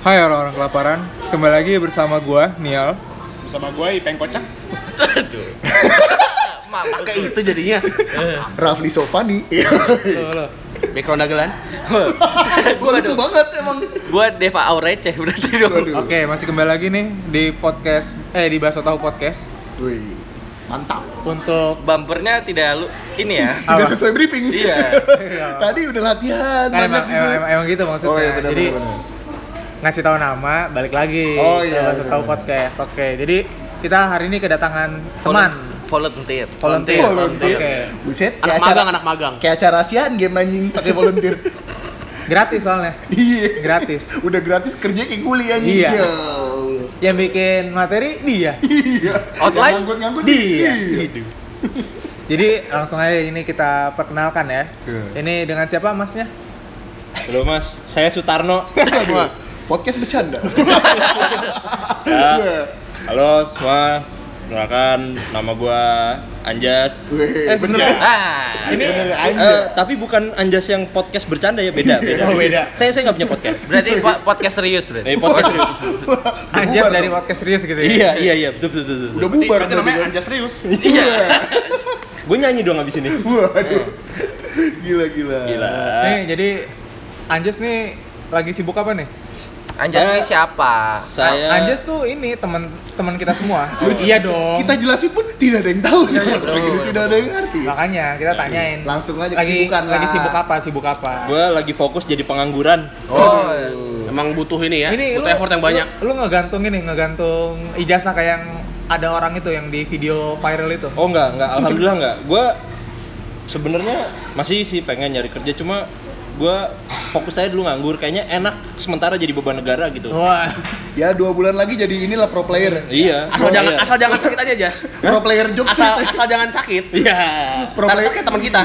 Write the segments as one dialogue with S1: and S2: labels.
S1: Hai orang-orang kelaparan, kembali lagi bersama gua Nial.
S2: bersama gue Ipeng Kocak
S3: Mama kayak itu jadinya.
S4: Rafli Sofani
S3: Background dagelan.
S4: Gua lucu banget emang
S3: Gua Deva Aureceh berarti dong.
S1: Oke, masih kembali lagi nih di podcast eh di Baso Tahu Podcast
S4: Wih, mantap
S1: untuk
S3: Bumpernya tidak lu ini ya.
S4: Tidak
S1: Apa?
S4: sesuai briefing
S3: Iya.
S4: Tadi udah latihan
S1: kan emang,
S4: banyak
S1: emang, emang gitu maksudnya.
S4: Oh iya benar
S1: jadi
S4: benar.
S1: ngasih tahu nama, balik lagi
S4: Oh,
S1: ke
S4: iya,
S1: Baso
S4: benar,
S1: Tahu
S4: benar.
S1: Podcast. Oke, jadi kita hari ini kedatangan teman
S3: volunteer.
S1: volunteer.
S4: Volunteer.
S1: Oke.
S4: Buset,
S3: Anak
S4: kayak acara
S3: magang, anak magang.
S4: kayak acara Asian game anjing pakai volunteer.
S1: Gratis soalnya.
S4: Iya.
S1: Gratis.
S4: Udah gratis kerja kayak kuli anjing.
S1: Iya.
S4: Ya.
S1: Yang bikin materi dia.
S4: Iya.
S3: Outline?
S4: Ngangkut ngangkut
S1: Dia. Jadi langsung aja ini kita perkenalkan ya.
S4: Iya.
S1: Ini dengan siapa masnya?
S2: halo mas saya Sutarno
S1: Iya.
S4: Podcast bercanda.
S1: Eh,
S2: Ya. halo semua perkenalkan nama gue Anjas
S4: Wih,
S1: Eh, sebenarnya-
S3: Ah.
S4: Ini
S2: Eh, tapi bukan Anjas yang podcast bercanda ya beda beda
S1: Oh, beda.
S2: saya saya nggak punya podcast
S3: Berarti po- podcast serius
S2: Eh,
S3: berarti.
S2: podcast serius.
S1: Anjas dari podcast serius gitu ya.
S2: iya iya iya betul betul betul, betul.
S4: udah bubar
S2: Berarti namanya
S4: berarti kan.
S2: Anjas serius
S3: Iya.
S2: gue nyanyi dong abis ini
S3: Eh.
S4: Waduh. Gila gila.
S2: gila
S1: Nih, jadi Anjas nih lagi sibuk apa nih?
S3: Anjas
S2: Saya-
S5: Eh.
S3: ini siapa?
S2: saya
S1: Anjas tuh ini teman teman kita semua. iya
S5: Oh.
S1: dong.
S4: Kita jelasin pun tidak ada yang tahu.
S3: Tidak
S5: Iya,
S3: ada yang tahu.
S4: Begitu tidak ada yang ngerti.
S1: Makanya kita tanyain.
S4: Langsung aja
S1: lagi
S4: kesibukan lah.
S1: lagi sibuk apa? Sibuk apa?
S2: gue lagi fokus jadi pengangguran
S3: Oh,
S5: Emang butuh ini ya,
S1: ini
S5: butuh effort yang banyak.
S1: Lu, lu ngegantung ini, ngegantung ijazah kayak yang ada orang itu yang di video viral itu.
S2: oh nggak nggak alhamdulillah nggak gue sebenarnya masih sih pengen nyari kerja cuma gue fokus saya dulu nganggur kayaknya enak sementara jadi beban negara gitu
S1: Wah.
S4: Ya dua bulan lagi jadi inilah pro player.
S2: Iya.
S5: Asal
S2: Oh,
S5: jangan
S2: iya.
S5: asal jangan sakit aja, Jas.
S4: Pro player job
S5: Asal
S4: street.
S5: asal jangan sakit.
S2: Iya.
S4: Pro
S5: Ntar
S4: player
S5: sakit teman kita.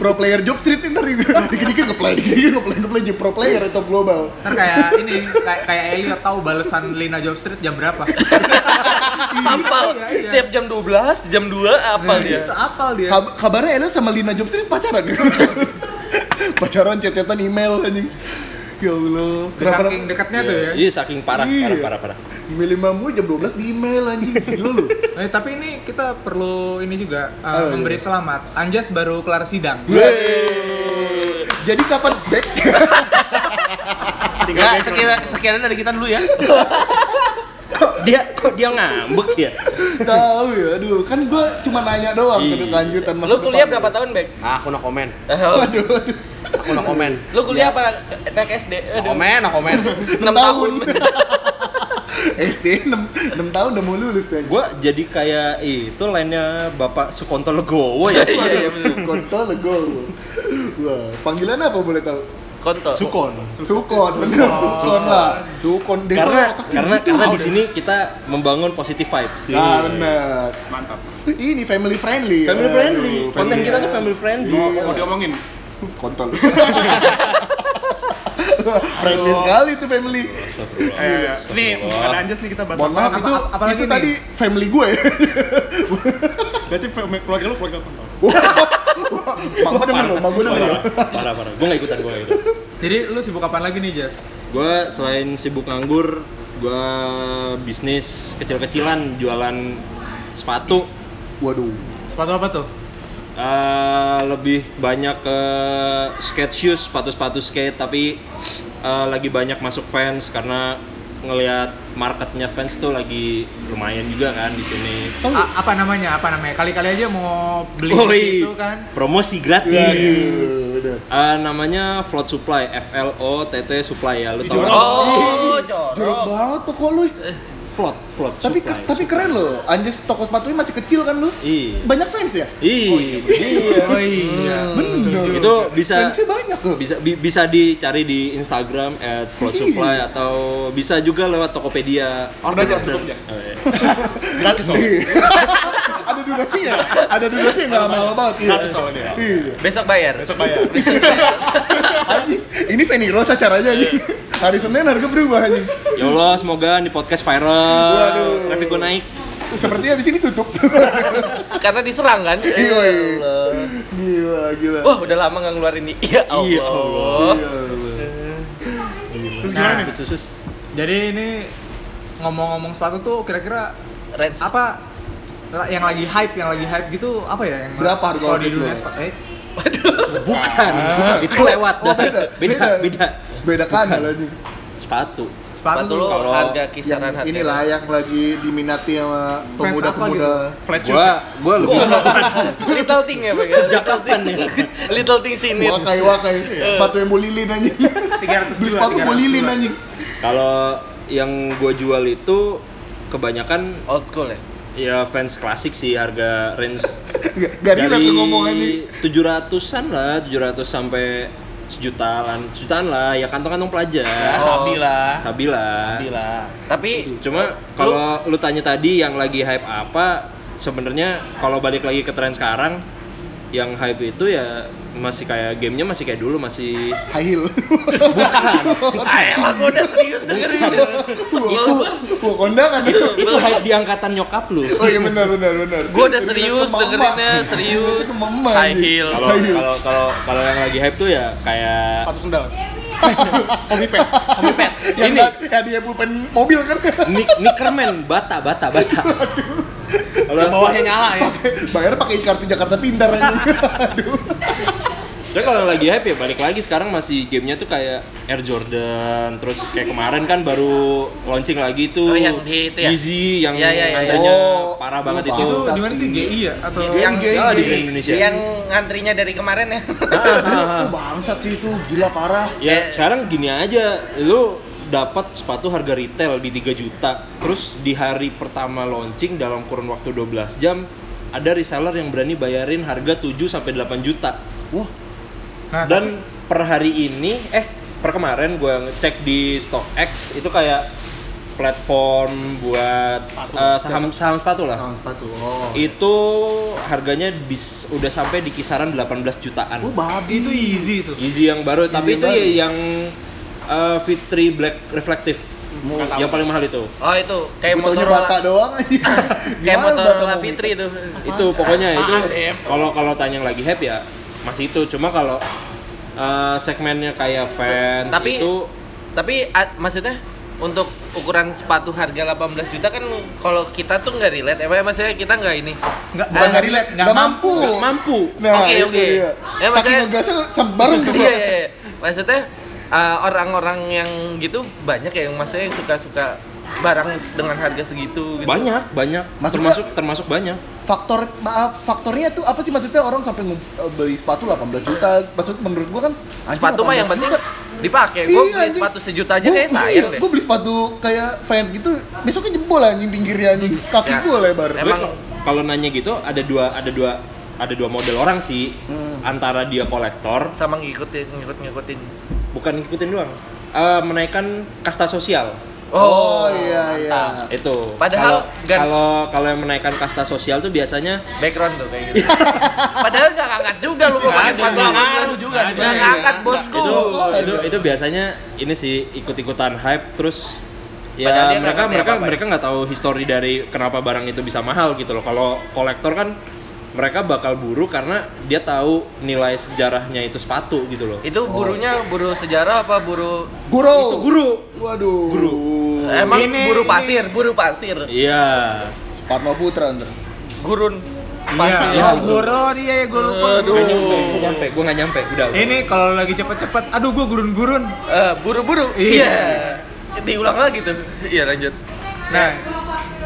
S4: Pro player job street ntar dikit-dikit ngeplay, dikit-dikit ngeplay, ngeplay jadi pro player atau global.
S1: Kan kayak ini, kayak, kayak Elliot tahu balesan Lina Jobstreet jam berapa.
S3: tampal.
S1: Iya, iya.
S3: Setiap jam 12, jam 2 apal
S5: Iya.
S3: dia.
S1: Nah, Itu apal dia.
S4: Kab- kabarnya Ella sama Lina Job Street pacaran ya? pacaran chat-chatan email anjing. Ya Allah. Kenapa
S1: Saking dekatnya tuh ya.
S2: Iya, saking parah, parah,
S4: Iya.
S2: parah, parah.
S4: email mamu jam 12 di email anjing. Gila lu.
S1: Eh, tapi ini kita perlu ini juga
S4: Oh,
S1: uh,
S4: iya.
S1: memberi selamat. Anjas baru kelar sidang.
S4: Jadi kapan back?
S5: Ya, sekian sekian dari kita dulu ya.
S2: Dia kok dia ngambek ya?
S4: Tahu ya, aduh. Kan gua cuma nanya doang ke lanjutan masa
S3: Iya. Lu kuliah
S4: depan.
S3: berapa tahun, Bek?
S5: Ah, aku no comment.
S4: Waduh, waduh.
S5: Aku no comment.
S3: Lu kuliah apa naik SD?
S5: No
S3: Aduh.
S5: comment, no comment.
S3: 6 tahun.
S4: SD 6, 6 tahun udah mau lulus ya.
S3: Iya,
S2: Gua jadi kayak itu lainnya Bapak Sukonto Legowo ya.
S3: iya,
S4: Waduh, Sukonto legowo. Wah, panggilan apa boleh tahu?
S3: Kontol.
S2: Sukon.
S4: Sukon, bener Sukon lah. Sukon Deva
S2: Karena
S4: otaknya
S2: karena
S4: gitu.
S2: karena di sini kita membangun positive vibes.
S3: Iya.
S4: Nah, iya. bener.
S2: Mantap.
S4: Ini family friendly.
S2: Family
S4: Aduh,
S2: friendly. Konten kita tuh family friendly.
S6: diomongin
S4: kontol. friendly sekali tuh family.
S1: Iya.
S6: eh, ini bukan Anjas nih kita bahas
S4: Mohon maaf
S6: apa
S4: itu
S1: apa- apalagi
S4: itu
S1: nih?
S4: tadi family gue. ya.
S6: berarti fam- keluarga lu keluarga kontol
S4: Mak gue demen loh, mak ya. gue demen
S2: Parah,
S4: loh.
S2: parah, parah. Gue gak ikutan, gue gak ikutan.
S1: Jadi lu sibuk kapan lagi nih, Jas?
S2: Gue selain sibuk nganggur, gue bisnis kecil-kecilan, jualan sepatu,
S4: Waduh.
S1: Sepatu apa tuh?
S2: Eh, lebih banyak ke skate shoes, sepatu-sepatu skate, tapi eh, lagi banyak masuk fans karena ngelihat marketnya fans tuh lagi lumayan juga kan di sini.
S4: Tahu
S1: A- apa namanya? Apa namanya? Kali-kali aja mau beli
S2: Woi,
S1: itu kan.
S2: promosi gratis.
S4: Iya, Waduh, udah.
S2: Eh, namanya Float Supply, F L O T T Supply ya, lu
S4: Iya.
S2: tau kan?
S3: Oh,
S4: Jorok
S3: jorok.
S4: banget toko lu.
S2: Float, Float
S4: Tapi
S2: Supply.
S4: ke- tapi keren loh. Anjir toko sepatunya masih kecil kan lu?
S2: Iya.
S4: Banyak fans ya?
S2: Ih, iya.
S1: Oh iya.
S4: Hmm. Bener.
S2: Itu bisa
S4: Fansnya banyak loh.
S2: bisa bi- bisa dicari di Instagram at Float Supply atau bisa juga lewat Tokopedia.
S3: Order aja, cukup, Jas.
S2: Oh, iya.
S6: gratis om
S4: ada durasi ya? Ada durasi nggak lama-lama banget. Iya.
S6: gratis om ini
S4: Iya.
S3: Besok bayar.
S6: besok bayar
S4: Anjing, ini Feni Rose acaranya anjing. Hari Senin harga berubah anjing.
S2: Ya Allah, semoga di podcast viral.
S4: Waduh.
S2: Traffic gue naik.
S4: Sepertinya abis ini tutup.
S3: Karena diserang kan? Ya
S4: Iya, iya.
S3: Allah.
S4: gila, gila.
S3: Wah, udah lama nggak ngeluarin ini. Ya Allah.
S4: Gila, gila.
S6: terus gimana
S1: Nah,
S6: nih
S2: Terus, terus.
S1: Jadi ini ngomong-ngomong sepatu tuh kira-kira
S3: Range.
S1: apa yang lagi hype, yang lagi hype gitu apa ya yang
S4: Berapa harga
S1: kalau di
S4: outfit
S1: dunia
S4: lo?
S1: sepatu? Eh,
S2: Bukan, itu lewat
S4: Oh,
S2: dah. beda, beda,
S4: Beda kan kanal anjing.
S2: Sepatu.
S1: sepatu,
S3: Sepatu lu
S2: kalau
S3: harga
S4: Yang
S3: kisaran harga. ya.
S4: inilah ya. yang lagi diminati sama pemuda-pemuda.
S6: Flat shoes.
S2: Gua, gua lebih
S3: Little thing ya, Bang. ya?
S2: Sejak kapan ya?
S3: Little thing sini.
S4: Wakai-wakai. Sepatu yang bolilin anjing.
S1: 300
S4: Beli sepatu bolilin anjing.
S2: Kalau yang gua jual itu kebanyakan
S3: Old school ya.
S2: ya fans klasik sih harga range
S4: Gak- Gak relate lu ngomong anjing.
S2: tujuh ratusan lah, 700 sampai sejutaan, sejutaan lah, ya kantong-kantong
S5: Ya,
S2: pelajar,
S5: sabi lah.
S2: sabi lah.
S5: Sabi lah.
S3: Oh. Tapi
S2: Cuma kalau lu tanya tadi yang lagi hype apa, sebenarnya kalau balik lagi ke tren sekarang, yang hype itu ya masih kayak gamenya masih kayak dulu masih
S4: High heel.
S3: ayo aku udah serius dengerin.
S4: Wah, kondangan.
S2: itu hype di angkatan nyokap lu.
S4: Oh iya benar benar benar.
S3: Gua udah serius dengerinnya, serius. High heel.
S2: Kalau
S4: Iya.
S2: kalau kalau kalau yang lagi hype tuh ya kayak
S6: Sepatu sendal. Hobi pet.
S4: Hobi pet. Yang
S2: Ini.
S4: ini yang dia pulpen mobil kan.
S2: Nick Nickerman bata bata bata. Kalau
S5: Bawahnya nyala ya.
S4: Bayar pakai kartu Jakarta Pintar anjing.
S2: Ya kalau lagi hype ya balik lagi sekarang masih gamenya tuh kayak Air Jordan terus kayak kemarin kan baru launching lagi tuh
S3: Oh, yang di itu ya?
S2: Yeezy yang
S3: Ya, ya, ya,
S2: antrenya
S4: ya.
S2: parah banget
S4: Oh,
S2: itu.
S1: Itu
S4: Bangsat
S1: di mana sih
S4: sih. Iya,
S1: GI ya atau
S2: yang
S4: GI,
S2: ya, di
S4: GI.
S2: Grand Indonesia.
S3: Yang ngantrinya dari kemarin ya.
S4: Oh, bangsat sih itu gila parah.
S2: Ya sekarang gini aja, lu dapat sepatu harga retail di 3 juta, terus di hari pertama launching dalam kurun waktu 12 jam ada reseller yang berani bayarin harga 7 sampai 8 juta.
S4: Wah,
S1: Nah,
S2: Dan per hari ini eh per kemarin gue ngecek di StockX itu kayak platform buat eh, saham saham sepatu lah.
S4: tangan sepatu. Oh.
S2: Itu harganya bis udah sampai di kisaran 18 jutaan.
S4: Oh, babi
S1: itu easy itu.
S2: Yeezy yang baru, tapi
S4: yang
S2: itu
S4: baru.
S2: ya yang eh, Fitri Black Reflective yang paling mahal itu.
S3: Oh itu kayak
S4: Motornya
S3: Motorola.
S4: bata doang anjing.
S3: Kayak
S4: Gimana bata
S3: Motorola
S4: mau-
S3: Fitri itu.
S2: Itu pokoknya itu
S3: Apaan, Dep?
S2: kalau kalau tanya yang lagi hype ya masih itu. Cuma kalau eh, segmennya kayak fans
S3: Tapi-
S2: itu
S3: Tapi a- maksudnya untuk ukuran sepatu harga 18 juta kan kalau kita tuh nggak relate. Emang maksudnya kita nggak ini.
S1: Enggak
S4: Bukan nggak relate, nggak mampu.
S2: nggak mampu.
S4: Nah,
S3: Oke,
S4: itu
S3: oke.
S4: dia.
S3: Ya,
S4: Saking
S3: maksudnya-
S4: ngegasnya sam- bareng tuh.
S3: iya, iya, iya. Maksudnya uh, orang-orang yang gitu banyak ya yang maksudnya yang suka-suka barang dengan harga segitu gitu.
S2: banyak banyak
S4: Maksudnya-
S2: termasuk termasuk banyak
S4: faktor maaf faktornya tuh apa sih maksudnya orang sampai nge- beli sepatu 18 juta maksud menurut gua kan anjing,
S3: Sepatu mah yang
S4: 18
S3: penting
S4: juta.
S3: dipakai. Gue
S4: Iya,
S3: beli
S4: anjing.
S3: sepatu sejuta aja
S4: Gua-
S3: kayak
S4: iya,
S3: sayang deh.
S4: gua beli sepatu kayak fans gitu besoknya jebol anjing pinggirnya anjing kaki
S3: Ya.
S4: gua lebar
S3: Emang-
S2: Gue kalau nanya gitu ada dua ada dua ada dua model orang sih
S3: Hmm.
S2: antara dia kolektor
S3: Sama ngikutin ngikut ngikutin.
S2: bukan ngikutin doang eh, menaikkan kasta sosial
S4: oh, iya iya
S2: itu Kalau-
S3: Padahal gan-
S2: kalau kalau yang menaikkan kasta sosial tuh biasanya
S3: background tuh kayak gitu. Padahal nggak ngangkat juga lu mau pakai sepatu
S5: Nggak
S3: angkat.
S5: ngaruh juga sih.
S3: Nggak ngangkat bosku.
S2: itu
S4: Oh,
S2: itu
S4: iya.
S2: itu biasanya ini sih ikut-ikutan hype terus
S3: Padahal
S2: ya
S3: dia nggak
S2: mereka
S3: ngerti
S2: mereka
S3: apa-apa ya.
S2: mereka nggak tahu histori dari kenapa barang itu bisa mahal gitu loh kalau kolektor kan mereka bakal buru karena dia tahu nilai sejarahnya itu sepatu gitu loh
S3: Itu burunya buru sejarah apa buru
S4: guru
S2: itu guru
S1: Iya.
S4: waduh
S2: Guru.
S3: emang buru pasir, buru pasir.
S2: iya
S4: Parno Putra ntar
S3: Gurun
S1: Iya,
S3: pasir.
S1: ya, guru dia ya gua lupa.
S2: Gua nyampe gua nyampe gue nggak nyampe udah udah.
S1: Ini kalau lagi cepet-cepet, aduh gua gurun-gurun.
S3: Eh, buru-buru.
S1: Iya.
S3: Diulang lagi tuh. Iya, lanjut.
S1: Nah,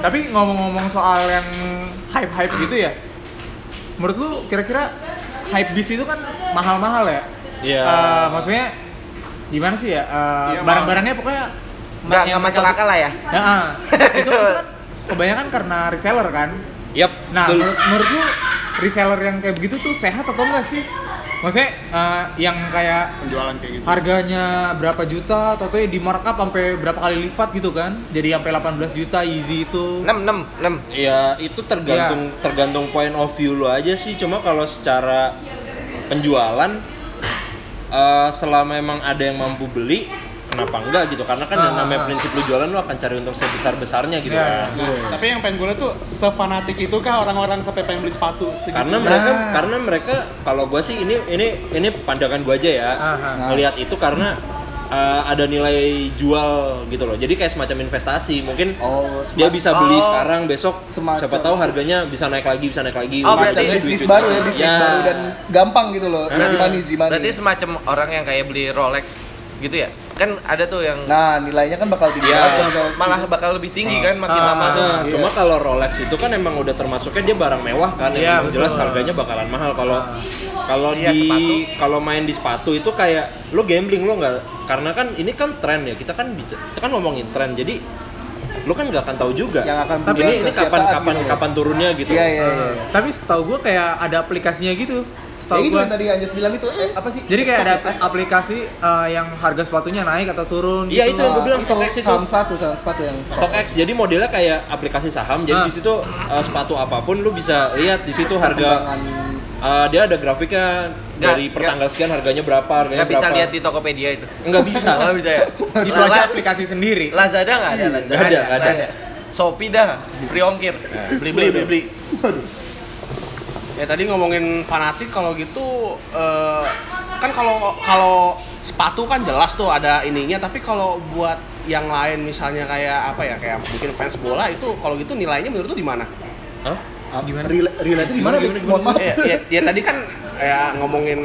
S1: tapi ngomong-ngomong soal yang hype-hype gitu ya, menurut lu kira-kira hype bis itu kan mahal-mahal ya?
S2: Iya.
S1: Eh, maksudnya gimana sih ya? Eh,
S6: Iya,
S1: barang-barangnya pokoknya
S3: Nggak,
S1: yang
S3: nggak masuk
S1: satu-
S3: akal lah ya?
S1: Ya, ah. itu, itu kan kebanyakan karena reseller kan.
S2: Yap,
S1: Nah,
S2: betul.
S1: menurut, menurut lu reseller yang kayak begitu tuh sehat atau enggak sih? Maksudnya eh, yang kayak
S6: Penjualan kayak gitu.
S1: harganya berapa juta, atau di markup sampai berapa kali lipat gitu kan? Jadi sampai 18 juta easy itu.
S3: 6 6 6.
S2: Ya itu tergantung
S1: Iya.
S2: tergantung point of view lu aja sih. Cuma kalau secara penjualan eh, selama emang ada yang mampu beli, kenapa enggak gitu? Karena kan
S1: Ah.
S2: yang namanya prinsip lu jualan lu akan cari untung sebesar besarnya gitu.
S1: Ya.
S2: kan.
S6: Nah, tapi yang pengen gue lihat tuh sefanatik itu kah orang-orang sampai pengen beli sepatu segitu?
S2: Karena mereka karena mereka kalau gua sih ini ini ini pandangan gua aja ya
S1: Aha.
S2: melihat itu karena eh, ada nilai jual gitu loh. Jadi kayak semacam investasi. Mungkin
S4: Oh,
S2: dia bisa beli
S3: oh.
S2: sekarang besok
S4: Semacam-
S2: siapa tahu harganya bisa naik lagi, bisa naik lagi.
S3: Oh,
S2: Gitu.
S3: berarti
S2: Jadinya
S4: bisnis
S2: duit-duit
S4: baru ya,
S2: orang.
S4: bisnis baru dan gampang gitu loh. Easy money, easy money.
S3: Berarti semacam orang yang kayak beli Rolex gitu ya? Kan ada tuh yang
S4: Nah, nilainya kan bakal tinggi
S2: Iya.
S4: banget kalau misalnya-
S3: Ya. malah bakal lebih tinggi kan makin
S1: Ah.
S3: lama tuh.
S2: Nah,
S4: Iya.
S2: cuma kalau Rolex itu kan emang udah termasuknya dia barang mewah kan,
S1: Iya,
S2: yang emang jelas
S1: betul.
S2: harganya bakalan mahal. Kalau kalau
S3: Iya,
S2: di
S3: sepatu.
S2: kalau main di sepatu itu kayak lo gambling lo nggak, karena kan ini kan tren ya, kita kan bisa, kita kan ngomongin tren, jadi lo kan nggak akan tahu juga.
S4: Yang akan
S2: Tapi
S4: berubah
S2: ini, ini
S4: setiap
S2: kapan
S4: saat
S2: kapan
S4: gitu.
S2: kapan turunnya gitu.
S4: Iya, iya, iya.
S1: Tapi setahu gua kayak ada aplikasinya gitu. Setahu
S4: Ya itu
S1: gua.
S4: yang tadi Anjas bilang itu, eh, apa sih?
S1: Jadi kayak ada
S4: Stock ya?
S1: aplikasi eh, yang harga sepatunya naik atau turun. gitu.
S2: Iya, itu yang gua
S4: Ah,
S2: bilang, StockX itu.
S4: Saham sepatu, saham sepatu yang
S2: StockX jadi modelnya kayak aplikasi saham, jadi
S3: Nah.
S1: Ah.
S2: di situ eh, sepatu apapun lo bisa lihat di situ harga.
S4: perkembangan
S2: eh, dia ada grafiknya
S3: Nggak,
S2: dari
S3: nggak.
S2: pertanggal sekian harganya berapa, harganya
S3: Nggak bisa
S2: Iya, berapa.
S3: lihat di Tokopedia itu.
S2: Nggak bisa.
S3: Nggak bisa ya.
S1: Itu
S3: La-
S1: aja
S3: La-
S1: aplikasi sendiri.
S3: Lazada nggak ada, Lazada.
S2: Nggak ada, nggak ada.
S3: Shopee dah, free ongkir.
S5: Beli beli beli beli. Ya tadi ngomongin fanatik kalau gitu eh, kan kalau kalau sepatu kan jelas tuh ada ininya tapi kalau buat yang lain misalnya kayak apa ya kayak mungkin fans bola itu kalau gitu nilainya menurut tuh di mana?
S2: Hah?
S4: gimana? Relate, relate ah, di mana? Bik? Mohon maaf.
S5: ya, ya, ya tadi kan ya ngomongin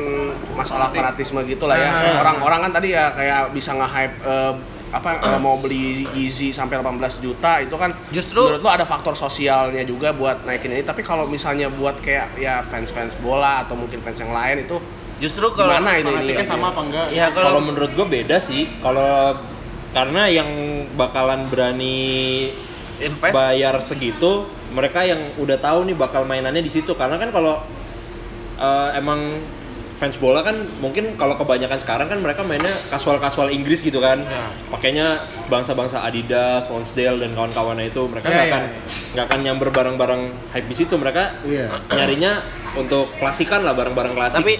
S5: masalah fanatisme gitu lah ya.
S1: Ah.
S5: Orang-orang kan tadi ya kayak bisa nge-hype eh, apa eh, mau beli Yeezy sampai 18 juta itu kan
S3: Justru-
S5: menurut lo ada faktor sosialnya juga buat naikin ini tapi kalau misalnya buat kayak ya fans-fans bola atau mungkin fans yang lain itu
S3: Justru kalau
S5: gimana itu ini
S6: Fanatiknya sama apa enggak?
S3: ya
S2: Kalau
S3: kalau
S2: menurut gue beda sih. Kalau karena yang bakalan berani
S3: invest
S2: bayar segitu, mereka yang udah tahu nih bakal mainannya di situ. Karena kan kalau eh, emang fans bola kan mungkin kalau kebanyakan sekarang kan mereka mainnya kasual-kasual Inggris gitu kan. Pakainya bangsa-bangsa Adidas, Lonsdale dan kawan-kawannya itu
S1: Iya,
S2: mereka nggak
S1: iya,
S2: akan nggak akan nyamber barang-barang hype di situ. Mereka
S4: Iya.
S2: nyarinya untuk klasikan lah barang-barang klasik.
S3: tapi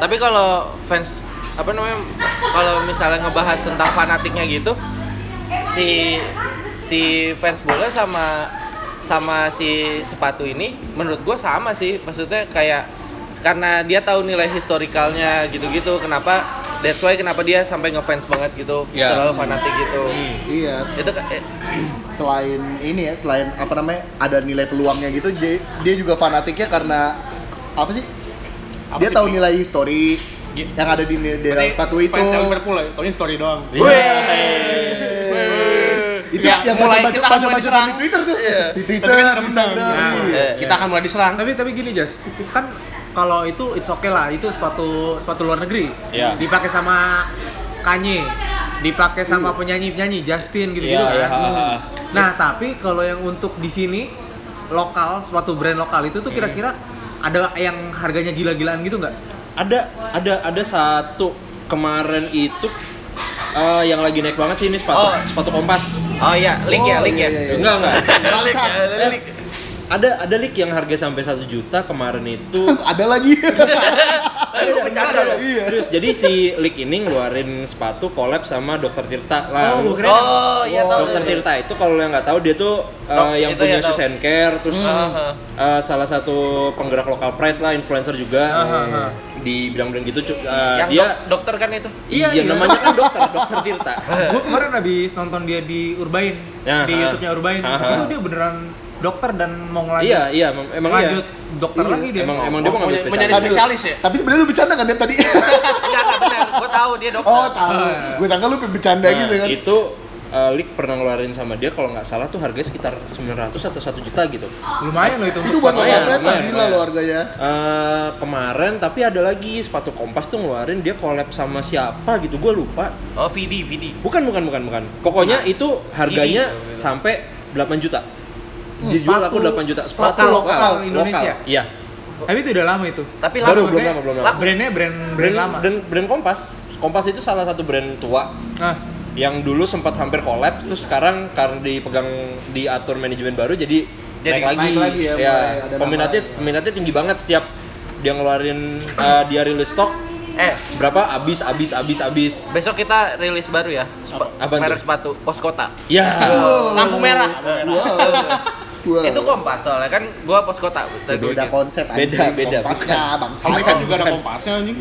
S3: tapi kalau fans apa namanya kalau misalnya ngebahas tentang fanatiknya gitu si si fans bola sama sama si sepatu ini menurut gua sama sih maksudnya kayak karena dia tahu nilai historikalnya gitu-gitu kenapa that's why kenapa dia sampai ngefans banget gitu
S2: Ya.
S3: terlalu fanatik gitu
S4: Iya,
S3: itu ka- eh,
S4: selain ini ya, selain apa namanya ada nilai peluangnya gitu, dia, dia juga fanatiknya karena apa sih?
S6: Apa
S4: dia
S6: sih,
S4: tahu
S6: Bik?
S4: nilai histori yang ada di di dalam
S6: Berarti
S4: Iya, sepatu itu.
S6: Fans yang Liverpool ya, taunya story doang.
S2: Iya.
S4: Itu
S5: Ya,
S4: yang
S5: mulai
S4: mulai baca
S5: kita akan
S4: baca
S5: mulai
S4: baca
S5: diserang.
S4: di Twitter tuh. Di Twitter,
S6: Tapi kan
S4: di
S6: menang.
S4: Instagram.
S1: Nah,
S4: iya.
S3: eh,
S5: kita akan mulai diserang
S1: Tapi tapi gini Jas, kan kalau itu it's okay lah, itu sepatu sepatu luar negeri.
S2: Iya.
S1: Dipakai sama Kanye, dipakai sama penyanyi-penyanyi Justin gitu-gitu
S2: Hmm. Iya, iya,
S1: kan.
S2: ha, ha, ha.
S1: Nah, tapi kalau yang untuk di sini lokal, sepatu brand lokal itu
S2: Hmm.
S1: tuh kira-kira ada yang harganya gila-gilaan gitu nggak?
S2: ada ada ada satu kemarin itu eh, yang lagi naik banget sih ini sepatu
S3: Oh.
S2: sepatu kompas
S3: oh ya link ya
S4: Oh,
S3: link ya
S4: iya, iya, iya.
S2: enggak enggak
S3: Link ya,
S4: Bangsat.
S3: link.
S2: ada ada leak yang harga sampai 1 juta kemarin itu
S4: ya.
S2: Iya,
S4: Ada lagi.
S3: Aduh, bercanda
S2: Ada, ada.
S3: dong. Iya.
S2: serius jadi si leak ini ngeluarin sepatu collab sama dokter Tirta lah
S1: Oh, keren.
S3: oh iya tahu
S2: Dokter Tirta itu kalau yang nggak tahu dia tuh eh,
S3: Dok, Hmm.
S2: yang
S3: itu
S2: punya
S3: ya tahu.
S2: Susan Care terus
S3: Aha.
S2: eh, salah satu penggerak lokal pride lah influencer juga
S1: Aha, aha.
S2: di bidang-bidang gitu cu- eh,
S3: Hmm. yang
S2: dia
S3: dok- dokter kan itu
S1: Iya,
S2: Iya,
S1: iya.
S2: namanya kan dokter, dokter Tirta.
S1: Gue kemarin habis nonton dia di Urbain,
S2: Eh. Ya,
S1: di
S2: ha.
S1: YouTube-nya Urbain.
S2: Ha, ha.
S1: Itu dia beneran dokter dan mau ngelanjut
S2: iya, iya, mem- emang iya.
S1: lanjut Iya. dokter lagi dia.
S2: Emang emang dia mau ngambil
S5: menjadi
S2: spesialis.
S5: spesialis ya
S4: Tapi sebenarnya lu bercanda kan dia tadi?
S3: Enggak, enggak benar. Gua tahu dia dokter.
S4: Oh, tahu. Gue sangka lu bercanda
S2: Nah,
S4: gitu kan.
S2: itu uh, Lik pernah ngeluarin sama dia kalau nggak salah tuh harganya sekitar 900 atau 1 juta gitu.
S1: Lumayan loh itu.
S4: Itu
S1: untuk sepatu.
S4: buat lo
S2: lumayan,
S4: kampret
S2: lumayan,
S4: gila lo
S2: lumayan.
S4: harganya.
S2: Eh, kemarin tapi ada lagi sepatu kompas tuh ngeluarin dia collab sama siapa gitu gue lupa
S3: Oh, Vidi, Vidi.
S2: bukan bukan bukan bukan pokoknya itu harganya
S3: CD.
S2: sampai 8 juta dijual aku 8 juta
S1: Hmm, sepatu
S2: sepatu
S1: lokal
S2: lokal
S1: Indonesia.
S2: lokal. iya
S1: Tapi itu udah lama itu.
S3: Tapi lama
S2: baru belum
S1: maksudnya.
S2: lama belum lama
S3: Laku.
S1: Brandnya brand brand,
S2: brand
S1: lama.
S2: brand, brand kompas kompas itu salah satu brand tua
S1: Nah,
S2: yang dulu sempat hampir kolaps terus sekarang karena dipegang diatur manajemen baru jadi,
S3: Jadi
S2: naik lagi, Iya,
S4: naik lagi ya, mulai ada nama.
S2: peminatnya peminatnya tinggi banget setiap dia ngeluarin eh, dia rilis stok
S3: Eh,
S2: berapa abis abis abis abis
S3: besok kita rilis baru ya. Sepa-
S2: Apaan
S3: merek
S2: tuh?
S3: sepatu Pos Kota.
S2: ya
S5: lampu merah
S4: Wow. Wah.
S3: Itu kompas soalnya kan gua pos kota. gitu. tadi
S4: beda
S3: gua bilang.
S4: konsep
S2: Beda, beda,
S4: kompas
S2: bukan.
S4: ya bangsa
S6: Sampai kan juga ada kompasnya anjing.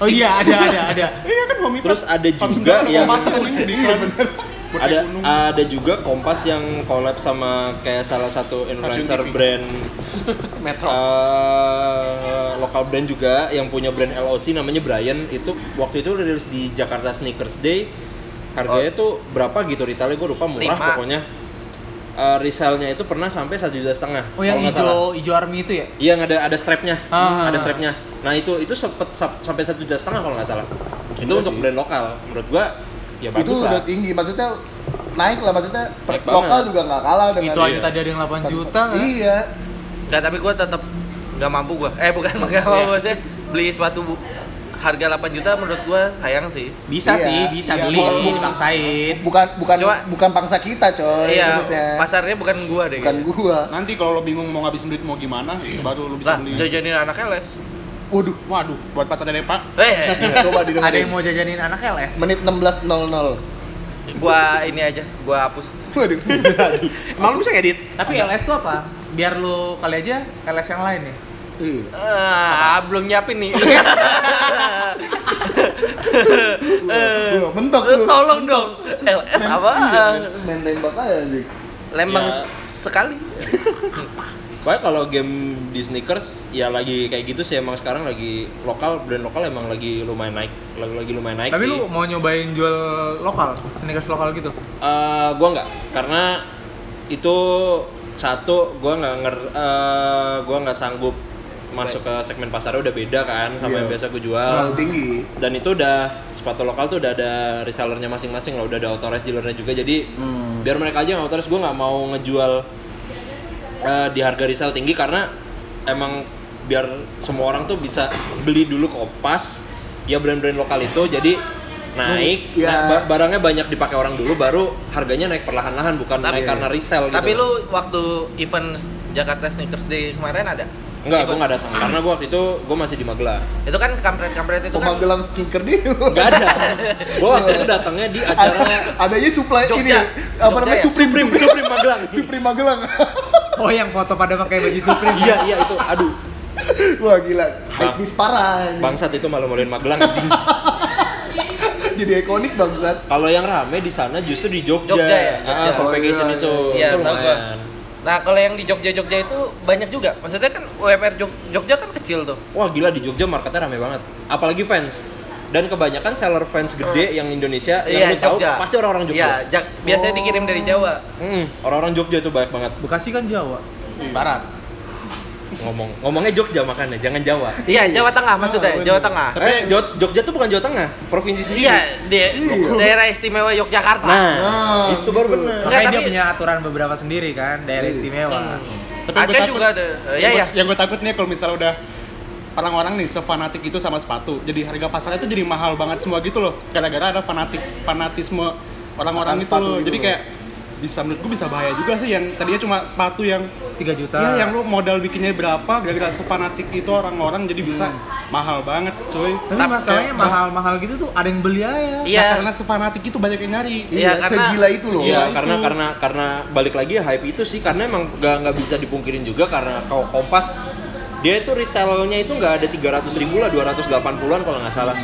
S1: Oh iya ada ada ada.
S6: Iya kan Bang Ipan.
S2: Terus ada
S6: Pas
S2: juga
S6: ada
S2: yang- Iya,
S6: kompasnya anjing di iklan. kan. Buat
S2: ada
S6: naik gunung.
S2: ada juga Kompas yang collab sama kayak salah satu influencer
S6: TV.
S2: brand
S5: Metro.
S2: eh, lokal brand juga yang punya brand LOC namanya Brian itu waktu itu rilis di Jakarta Sneakers Day harganya tuh berapa gitu retailnya gue lupa murah
S3: Lima.
S2: pokoknya Eh, resellnya itu pernah sampai satu juta setengah
S1: Oh yang
S2: kalau nggak salah.
S1: hijau hijau army itu ya?
S2: Iya yang ada ada strapnya,
S1: Ah.
S2: ada strapnya. Nah itu itu sempet sam- sampai satu juta setengah kalau nggak salah. itu untuk brand lokal, menurut gua ya
S4: itu
S2: bagus
S4: udah
S2: lah.
S4: tinggi maksudnya naik lah maksudnya per-
S2: Naik banget.
S4: lokal juga nggak kalah dengan
S1: Itu aja tadi ada yang 8 juta. kan?
S4: iya
S3: Nggak, tapi gua tetap nggak mampu gua. Eh bukan nggak mampu saya beli sepatu bu- harga 8 juta menurut gua sayang sih.
S1: Bisa
S4: Iya.
S1: sih, bisa
S6: Iya,
S1: beli
S6: bukan-
S1: kalau dipaksain.
S4: bukan bukan
S3: Coba.
S4: bukan bangsa kita coy
S3: Iya,
S4: maksudnya
S3: pasarnya bukan gua deh. gitu.
S4: ya. bukan
S3: kayaknya.
S4: gua
S6: Nanti kalau lo bingung mau ngabisin duit mau gimana, itu baru lo bisa
S3: Lah,
S6: beli.
S3: jajanin anaknya les.
S4: waduh
S6: Waduh, buat pacar dari Pak.
S3: Eh,
S1: Ada
S4: coba
S1: yang
S4: didengarin
S1: mau jajanin anak LS.
S4: menit 16.00
S3: gua ini aja, gua hapus.
S4: waduh
S5: Emang lu bisa ngedit?
S1: Tapi LS tuh apa? Biar lu kali aja LS yang lain ya.
S4: Iya.
S3: Ah, belum nyiapin nih.
S4: Wah, mentok
S3: Lu
S4: lu
S3: Eh, Tolong dong. LS apa? Eh,
S4: Iya, main- main tembak aja anjing
S3: Lembang
S2: Ya.
S3: sekali.
S2: Pokoknya kalau game di sneakers ya lagi kayak gitu sih emang sekarang lagi lokal brand lokal emang lagi lumayan naik, lagi lagi lumayan naik
S1: Tapi
S2: sih.
S1: lu mau nyobain jual lokal, sneakers lokal gitu?
S2: Eh, gua nggak, karena itu satu gua nggak nger, eh, gua nggak sanggup masuk ke segmen pasarnya udah beda kan sama
S4: Iya.
S2: yang biasa gue jual.
S4: terlalu tinggi
S2: dan itu udah sepatu lokal tuh udah ada resellernya masing-masing lah udah ada authorized dealernya juga jadi
S4: Hmm.
S2: biar mereka aja yang authorized gue nggak mau ngejual eh, di harga resell tinggi karena emang biar semua orang tuh bisa beli dulu ke opas ya brand-brand lokal itu jadi naik
S4: Iya.
S2: nah, ba- barangnya banyak dipakai orang dulu baru harganya naik perlahan-lahan bukan
S3: Tapi-
S2: naik karena resell gitu
S3: Tapi lu waktu event Jakarta Sneakers Day kemarin ada?
S2: Enggak,
S3: Ikut?
S2: gue nggak datang karena gue waktu itu gue masih di Magelang
S3: Itu kan kampret-kampret itu kan
S4: pemanggilan skinker dia
S2: Gak ada gue waktu itu datangnya di acara
S4: adanya supply
S3: Jogja.
S4: ini ya, apa
S3: Jogja
S4: namanya
S3: ya?
S4: Supreme Supreme,
S2: Supreme Magelang
S4: Supreme Magelang
S1: Oh yang foto pada pakai baju Supreme.
S2: iya iya itu aduh
S4: wah gila hype bis parah ini.
S2: bangsat itu malah maluin Magelang anjing.
S4: jadi ikonik bangsat
S2: kalau yang rame di sana justru di Jogja,
S3: Jogja ya?
S2: Ah,
S3: Jogja.
S2: Soul Vacation
S4: Oh, iya,
S2: itu
S3: iya. Iya,
S2: Itu
S3: tahu gua.
S2: lumayan.
S3: Nah, kalau yang di Jogja-Jogja itu banyak juga. Maksudnya kan UMR Jog- Jogja kan kecil tuh.
S2: wah gila di Jogja marketnya rame banget apalagi fans dan kebanyakan seller fans gede yang Indonesia yang lu tahu pasti orang-orang Jogja
S3: Hmm.
S2: Oh.
S3: Iya, Jak- biasanya dikirim dari Jawa.
S2: Mm, orang-orang Jogja itu banyak banget
S1: Bekasi kan Jawa.
S3: Hmm.
S5: Barat.
S2: ngomong ngomongnya Jogja makanya jangan Jawa
S3: Iya, Jawa Tengah maksudnya, Jawa Tengah.
S2: eh, Jo- Jogja tuh bukan Jawa Tengah provinsi sendiri
S3: Ah, Iya, di daerah istimewa Yogyakarta.
S2: nah
S4: Ah,
S2: itu baru
S4: gitu.
S2: benar
S1: Makanya dia
S3: tapi-
S1: punya aturan beberapa sendiri kan, daerah istimewa.
S3: Aceh
S6: Tapi yang gua takut-
S3: juga ada. Eh, Iya,
S6: yang
S3: iya.
S6: gua- Yang gue takut nih kalau misalnya udah orang-orang nih sefanatik itu sama sepatu. Jadi harga pasarnya itu jadi mahal banget semua gitu loh. Gara-gara ada fanatik fanatisme orang-orang
S4: Akan
S6: itu
S4: sepatu
S6: loh.
S4: gitu
S6: Jadi
S4: loh.
S6: kayak bisa menurut gue bisa bahaya juga sih yang tadinya cuma sepatu yang
S1: 3 juta.
S6: ya yang lu modal bikinnya berapa gara-gara sefanatik itu orang-orang jadi bisa
S4: Hmm.
S6: mahal banget cuy.
S1: Tapi
S3: Tapi
S1: masalahnya
S6: kayak-
S1: mahal-mahal gitu tuh ada yang beli aja.
S6: Nah,
S3: Iya.
S6: karena sefanatik itu banyak yang nyari.
S3: Iya,
S4: Iya,
S3: karena-
S4: segila itu loh.
S2: Iya,
S6: itu.
S2: karena karena karena balik lagi ya hype itu sih karena emang nggak nggak bisa dipungkirin juga karena kalau Kompas dia itu retailnya itu nggak ada 300 ribu lah 280-an kalau nggak salah.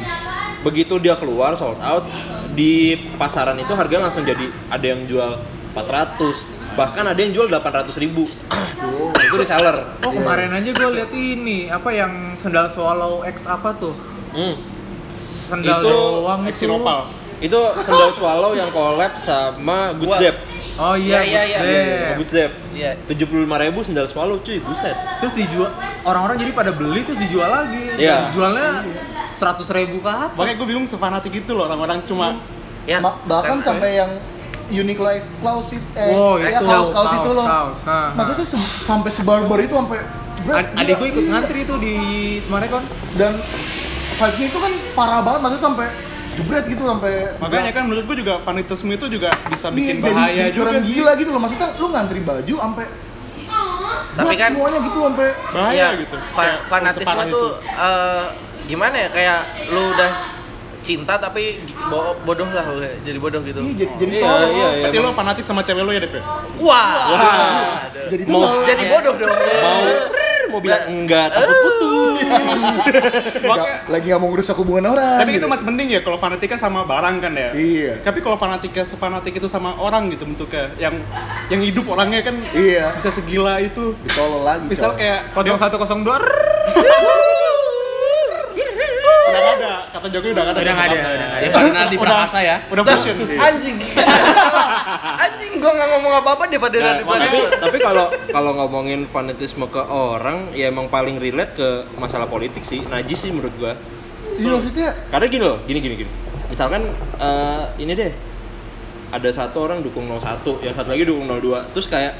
S2: Begitu dia keluar sold out di pasaran itu harga langsung jadi ada yang jual 400 bahkan ada yang jual 800 ribu itu reseller.
S1: Oh kemarin aja gue liat ini apa yang sendal swallow X apa tuh
S2: Hmm.
S1: sendal
S2: Itu
S1: doang
S6: Eksi
S1: itu.
S6: nopal.
S2: Itu sendal swallow yang collab sama Goods
S3: Gua-
S2: Dep.
S1: Oh iya,
S3: Iya, iya,
S1: Goods
S3: iya.
S1: Dep.
S2: Sama Goods Dep.
S3: Iya.
S2: 75.000 sendal swallow cuy, buset.
S1: Terus dijual orang-orang jadi pada beli terus dijual lagi.
S2: Iya.
S1: Dan Jualnya seratus ribu ke atas.
S6: Makanya gue bingung sefanatik itu loh orang-orang cuma
S4: Hmm.
S3: Ya.
S4: Ma- bahkan
S3: Kan-
S4: sampai yang Uniqlo X Klaus it- eh
S1: Wow,
S4: ya,
S1: itu.
S4: kaos kaos
S1: Kaos,
S4: itu loh
S1: kaos, ha, ha.
S4: maksudnya se- sampai sebarbar itu sampai
S1: Ad-
S4: Gila,
S1: adik gue ikut
S4: iya.
S1: ngantri tuh di kan. Semarekon.
S4: dan vibesnya itu kan parah banget maksudnya sampai jebret gitu sampai
S6: makanya kan menurut gue juga fanatisme itu juga bisa
S4: Iya,
S6: bikin
S4: jadi-
S6: bahaya
S4: jadi,
S6: juga
S4: orang
S6: sih.
S4: gila gitu loh maksudnya lu ngantri baju sampai
S3: Tapi
S4: berat
S3: kan-
S4: semuanya gitu sampai
S2: Ah,
S6: bahaya
S3: Iya,
S6: gitu.
S3: fa-
S6: Kayak
S3: fanatisme
S6: separah itu.
S3: tuh eh, gimana ya? Kayak lu udah cinta tapi bo- bodoh lah gue. jadi bodoh gitu
S4: Iya, jadi jadi
S2: Iya,
S4: tolol.
S2: iya, iya.
S6: Berarti
S2: emang.
S6: lo fanatik sama cewek lo ya, Dep? ya?
S3: wah,
S4: Jadi
S2: Mau-
S4: tolol.
S3: jadi bodoh dong
S2: mau mau bilang enggak takut putus
S4: Nggak- lagi nggak mau ngerusak hubungan orang.
S6: Tapi itu
S4: gitu.
S6: masih mending ya kalau fanatiknya sama barang kan ya.
S4: Iya.
S6: Tapi kalau fanatiknya sefanatik itu sama orang gitu bentuknya yang yang hidup orangnya kan
S4: Iya.
S6: bisa segila itu.
S4: ditolol lagi.
S6: Misal
S4: coy.
S6: kayak
S1: 0102
S6: udah nggak ada kata Jokowi udah nggak ada.
S1: Udah nggak ada,
S6: Jakarta.
S1: udah nggak
S5: Ya karena di
S6: Udah-
S5: Prakasa ya.
S6: Udah fashion.
S3: anjing anjing gua nggak ngomong apa apa deh pada
S2: Nah, tapi tapi kalau kalau ngomongin fanatisme ke orang ya emang paling relate ke masalah politik sih najis sih menurut gua
S4: Iya maksudnya
S2: karena gini loh gini gini gini misalkan eh, ini deh ada satu orang dukung 01 yang satu lagi dukung 02 terus kayak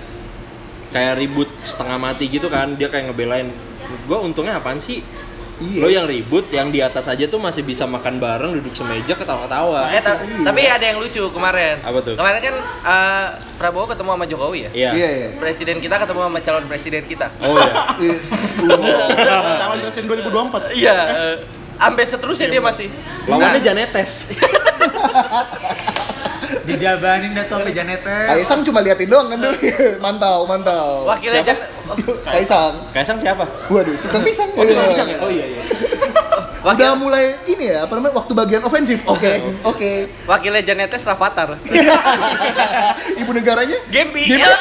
S2: kayak ribut setengah mati gitu kan dia kayak ngebelain Menurut gua untungnya apaan sih
S4: Iya.
S2: lo yang ribut yang di atas aja tuh masih bisa makan bareng duduk semeja ketawa-ketawa
S3: Eh, ta-
S4: Iya.
S3: tapi ada yang lucu kemarin.
S2: Apa tuh?
S3: Kemarin kan eh, Prabowo ketemu sama Jokowi ya.
S2: iya
S4: iya iya.
S3: Presiden kita ketemu sama calon presiden kita.
S2: oh iya
S4: Iya.
S6: Tahun presiden 2024.
S3: Iya. eh, Sampai seterusnya dia masih. Nah,
S2: lawannya Janetes
S1: dijabanin dah tuh sampai Janete
S4: Kaisang cuma liatin doang kan dulu. mantau, mantau.
S3: wakilnya
S2: Siapa?
S3: Jan,
S4: Kaisang.
S2: Kaisang siapa
S4: Waduh, tukang pisang. Iya.
S6: ya?
S2: oh iya iya
S3: wakil,
S4: Udah mulai ini ya, apa namanya? Waktu bagian ofensif. Oke,
S6: Iya.
S4: oke.
S3: wakilnya Janetes Rafathar.
S4: Ibu negaranya?
S3: Gempi. Iya.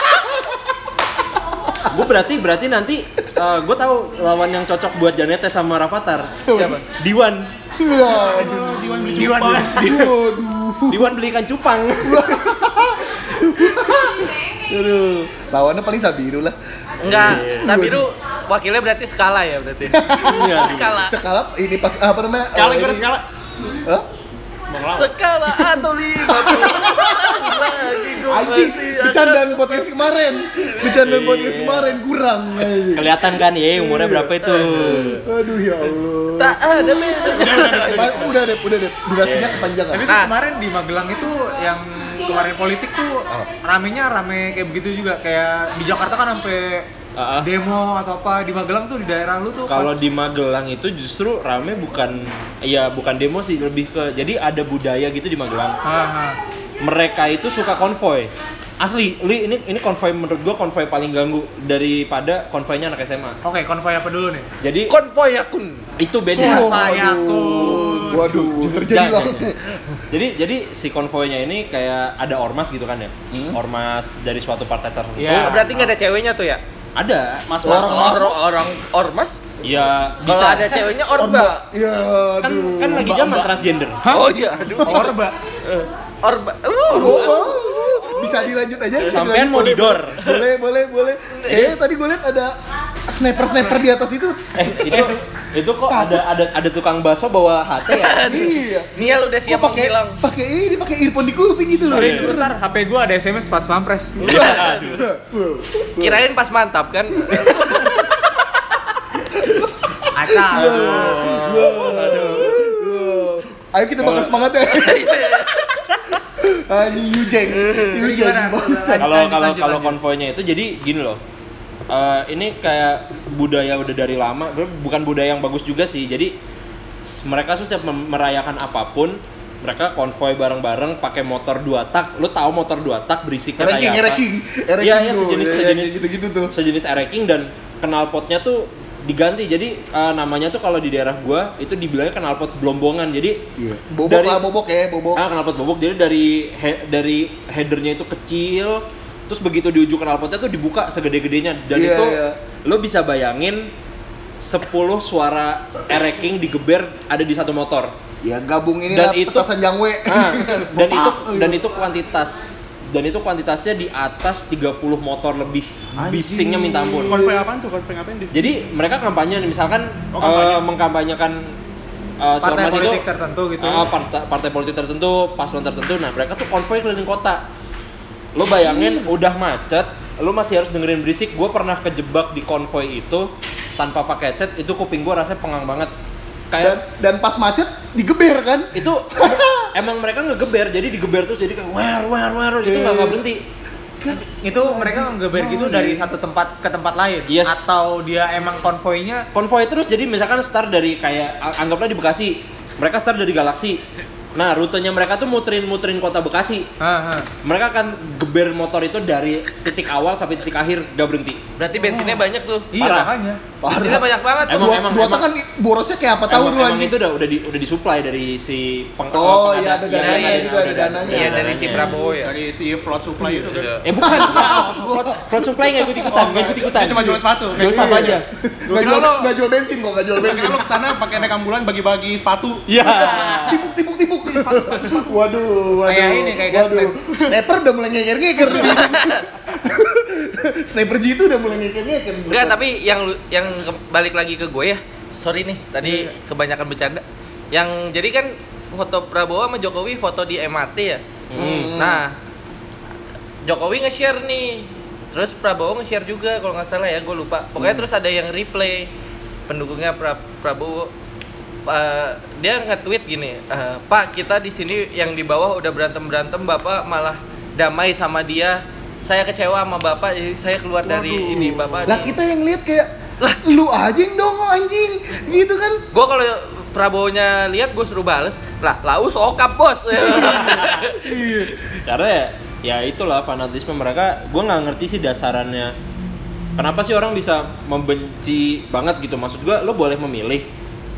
S2: gue berarti berarti nanti gue tahu lawan yang cocok buat Janete sama Rafathar
S3: Siapa?
S2: Diwan
S4: Iya. Waduh.
S1: Diwan
S4: Waduh.
S2: Diwan belikan cupang
S4: Aduh. Lawannya paling Sabiru lah.
S3: Enggak, Sabiru wakilnya berarti skala ya berarti.
S2: Iya,
S3: skala.
S4: Sekala ini pas apa namanya?
S6: Sekali
S4: Eh,
S6: gue
S4: ini-
S6: sekali.
S4: Hah?
S3: Skala atau lima puluh. Lagi gua
S4: Anjing,
S3: masih ada.
S4: bercandaan podcast kemarin. Bercandaan podcast kemarin kurang.
S2: kelihatan kan ya umurnya berapa itu
S4: Aduh ya Allah.
S3: Tak ada beda.
S4: Ma- Udah deh, udah deh. Durasinya kepanjangan.
S1: tapi tuh
S3: Nah.
S1: kemarin di Magelang itu yang kemarin politik tuh ramenya rame kayak begitu juga kayak di Jakarta kan sampai
S2: Ah, ah.
S1: demo atau apa di Magelang tuh di daerah lu tuh
S2: kalau
S1: pas-
S2: di Magelang itu justru rame bukan ya bukan demo sih lebih ke jadi ada budaya gitu di Magelang
S1: Ah, ah.
S2: mereka itu suka konvoy asli li ini ini konvoy menurut gue konvoy paling ganggu daripada konvoynya anak SMA
S1: Oke, konvoy apa dulu nih?
S2: jadi
S3: Konvoy akun.
S2: itu beda
S4: Oh,
S1: Apa ya,
S4: waduh, waduh, terjadi lah.
S2: Jangan, jangan. jadi jadi si konvoynya ini kayak ada ormas gitu kan ya
S3: Hmm.
S2: ormas dari suatu partai tertentu
S1: Iya.
S3: Nah, Berarti nggak ada ceweknya tuh ya?
S2: ada
S4: Orang
S3: Orang orang ormas?
S2: ya
S3: Kalau
S2: bisa
S3: ada ceweknya
S4: Orba.
S3: orba.
S4: Ya,
S2: kan
S4: aduh.
S2: kan lagi zaman transgender
S3: Oh iya, aduh. Eh.
S1: Orba.
S3: Orba.
S4: Oh,
S3: Uh.
S4: oh, oh. bisa dilanjut aja. bisa
S2: Sampean
S4: dilanjut.
S2: mau
S4: Boleh,
S2: didor.
S4: Boleh, boleh, boleh. Eh, tadi gue lihat ada sniper-sniper di atas itu.
S2: eh itu itu kok ada ada ada tukang bakso bawa HT ya
S4: Iya.
S3: Nial udah siap
S4: Kok pakai
S3: menghilang.
S4: pakai ini pakai earphone di kuping gitu loh.
S1: Sorry, Eh, sebentar, HP gua ada SMS pas pampres.
S2: Iya.
S4: Iya.
S3: Kirain pas mantap kan?
S1: Acah.
S4: Ayo kita bakar semangat ya. Ani Yujeng, Yujeng.
S1: Gimana?
S4: bangsat.
S2: kalau
S1: iya, Lanjut,
S2: kalau
S1: lanjut,
S2: kalau
S1: lanjut.
S2: konvoynya itu jadi gini loh Eh, ini kayak budaya udah dari lama bukan budaya yang bagus juga sih jadi s- mereka tuh setiap mem- merayakan apapun mereka konvoy bareng-bareng pakai motor dua tak lu tahu motor dua tak berisiknya
S4: Ranking,
S2: kayak apa
S4: ranking,
S2: iya iya
S4: tuh.
S2: sejenis
S4: Ya, ya,
S2: sejenis
S4: gitu-gitu tuh.
S2: sejenis ereking dan knalpotnya tuh diganti jadi eh, namanya tuh kalau di daerah gua itu dibilangnya knalpot blombongan jadi
S4: Iya. Bobok
S2: dari-
S4: lah, bobok ya, bobok.
S2: Ah, knalpot bobok. Jadi dari he- dari headernya itu kecil, terus begitu di ujung knalpotnya tuh dibuka segede-gedenya dan
S4: Iya,
S2: itu
S4: iya.
S2: lo bisa bayangin 10 suara ereking digeber ada di satu motor.
S4: Ya gabung ini lah
S2: Dan itu-
S4: petasan jangwe.
S2: Ah, dan itu dan itu kuantitas dan itu kuantitasnya di atas 30 motor lebih.
S4: Anjing.
S2: Bisingnya minta ampun.
S6: Konvoy apaan tuh? Konvoy ngapain deh?
S2: Jadi mereka kampanye nih, misalkan
S6: Oh, kampanye.
S2: eh, mengkampanyekan eh, si
S1: Partai
S2: ormas
S1: politik
S2: itu,
S1: tertentu gitu.
S2: Ah, partai, partai politik tertentu, paslon tertentu. Nah, mereka tuh konvoy keliling kota. Lo bayangin udah macet, lo masih harus dengerin berisik. Gue pernah kejebak di konvoy itu tanpa pakai headset, itu kuping gue rasanya pengang banget.
S4: Dan,
S2: Kayak
S4: dan pas macet digeber kan?
S2: itu emang mereka ngegeber, jadi digeber terus jadi kayak wer wer wer gitu nggak nggak berhenti.
S1: Itu mereka ngeber gitu dari satu tempat ke tempat lain
S2: Yes.
S1: atau dia emang konvoynya
S2: Konvoy terus jadi misalkan start dari kayak a- anggaplah di Bekasi. Mereka start dari Galaksi. Nah, rutenya mereka tuh muterin-muterin kota Bekasi.
S1: Hah, hah.
S2: Mereka akan geber motor itu dari titik awal sampai titik akhir, gak berhenti.
S3: Berarti bensinnya banyak tuh.
S1: Iya
S2: Parah.
S1: makanya.
S3: Bensinnya banyak banget tuh.
S2: Emang,
S4: Buat
S2: emang,
S4: buatan
S2: emang.
S4: kan borosnya kayak apa tahu
S2: emang,
S4: lu
S2: emang
S4: anjing.
S2: itu udah udah di udah disuplai dari si peng, pengada-
S4: Oh, iya, ada
S2: dari-
S4: dananya
S2: dari-
S4: juga, ada
S2: dari-
S4: dananya.
S3: Iya dari si
S2: dananya.
S3: Prabowo ya. Iya.
S6: dari si flood supply itu
S1: Iya.
S6: kan
S2: Eh bukan, Front- front supply nggak ikut ikutan, nggak Iya, ikut ikutan.
S6: Dia cuma jual sepatu.
S2: Jual sepatu aja.
S4: Nggak jual, nggak jual bensin kok, nggak jual bensin.
S6: Kalau kan kesana pakai naik ambulan bagi-bagi sepatu
S2: Iya.
S4: Tipuk, tipuk, tipuk. Waduh, waduh.
S3: Kayak ini, kayak
S4: waduh. Sniper udah mulai ngeker-ngeker. Sniper G itu udah mulai ngeker-ngeker.
S3: Enggak, tapi yang lu- yang ke- balik lagi ke gue ya. Sorry nih, tadi kebanyakan bercanda. Yang jadi kan foto Prabowo sama Jokowi foto di MRT ya.
S4: Hmm.
S2: Hmm.
S3: Nah, Jokowi nge-share nih. Terus Prabowo nge-share juga kalau nggak salah ya, gue lupa. Pokoknya terus ada yang replay pendukungnya Pra- Prabowo. Eh, dia nge-tweet gini, eh, "Pak, kita di sini yang di bawah udah berantem-berantem, Bapak malah damai sama dia. Saya kecewa sama Bapak, jadi saya keluar dari ini Bapak."
S4: Lah kita yang lihat kayak lah lu anjing dong oh anjing gitu kan
S3: Gue kalau Prabowo-nya lihat gue suruh bales, "Lah, laus okap, Bos."
S2: Karena ya, ya itulah fanatisme mereka. Gue nggak ngerti sih dasarannya. Kenapa sih orang bisa membenci banget gitu? Maksud gue, lo boleh memilih.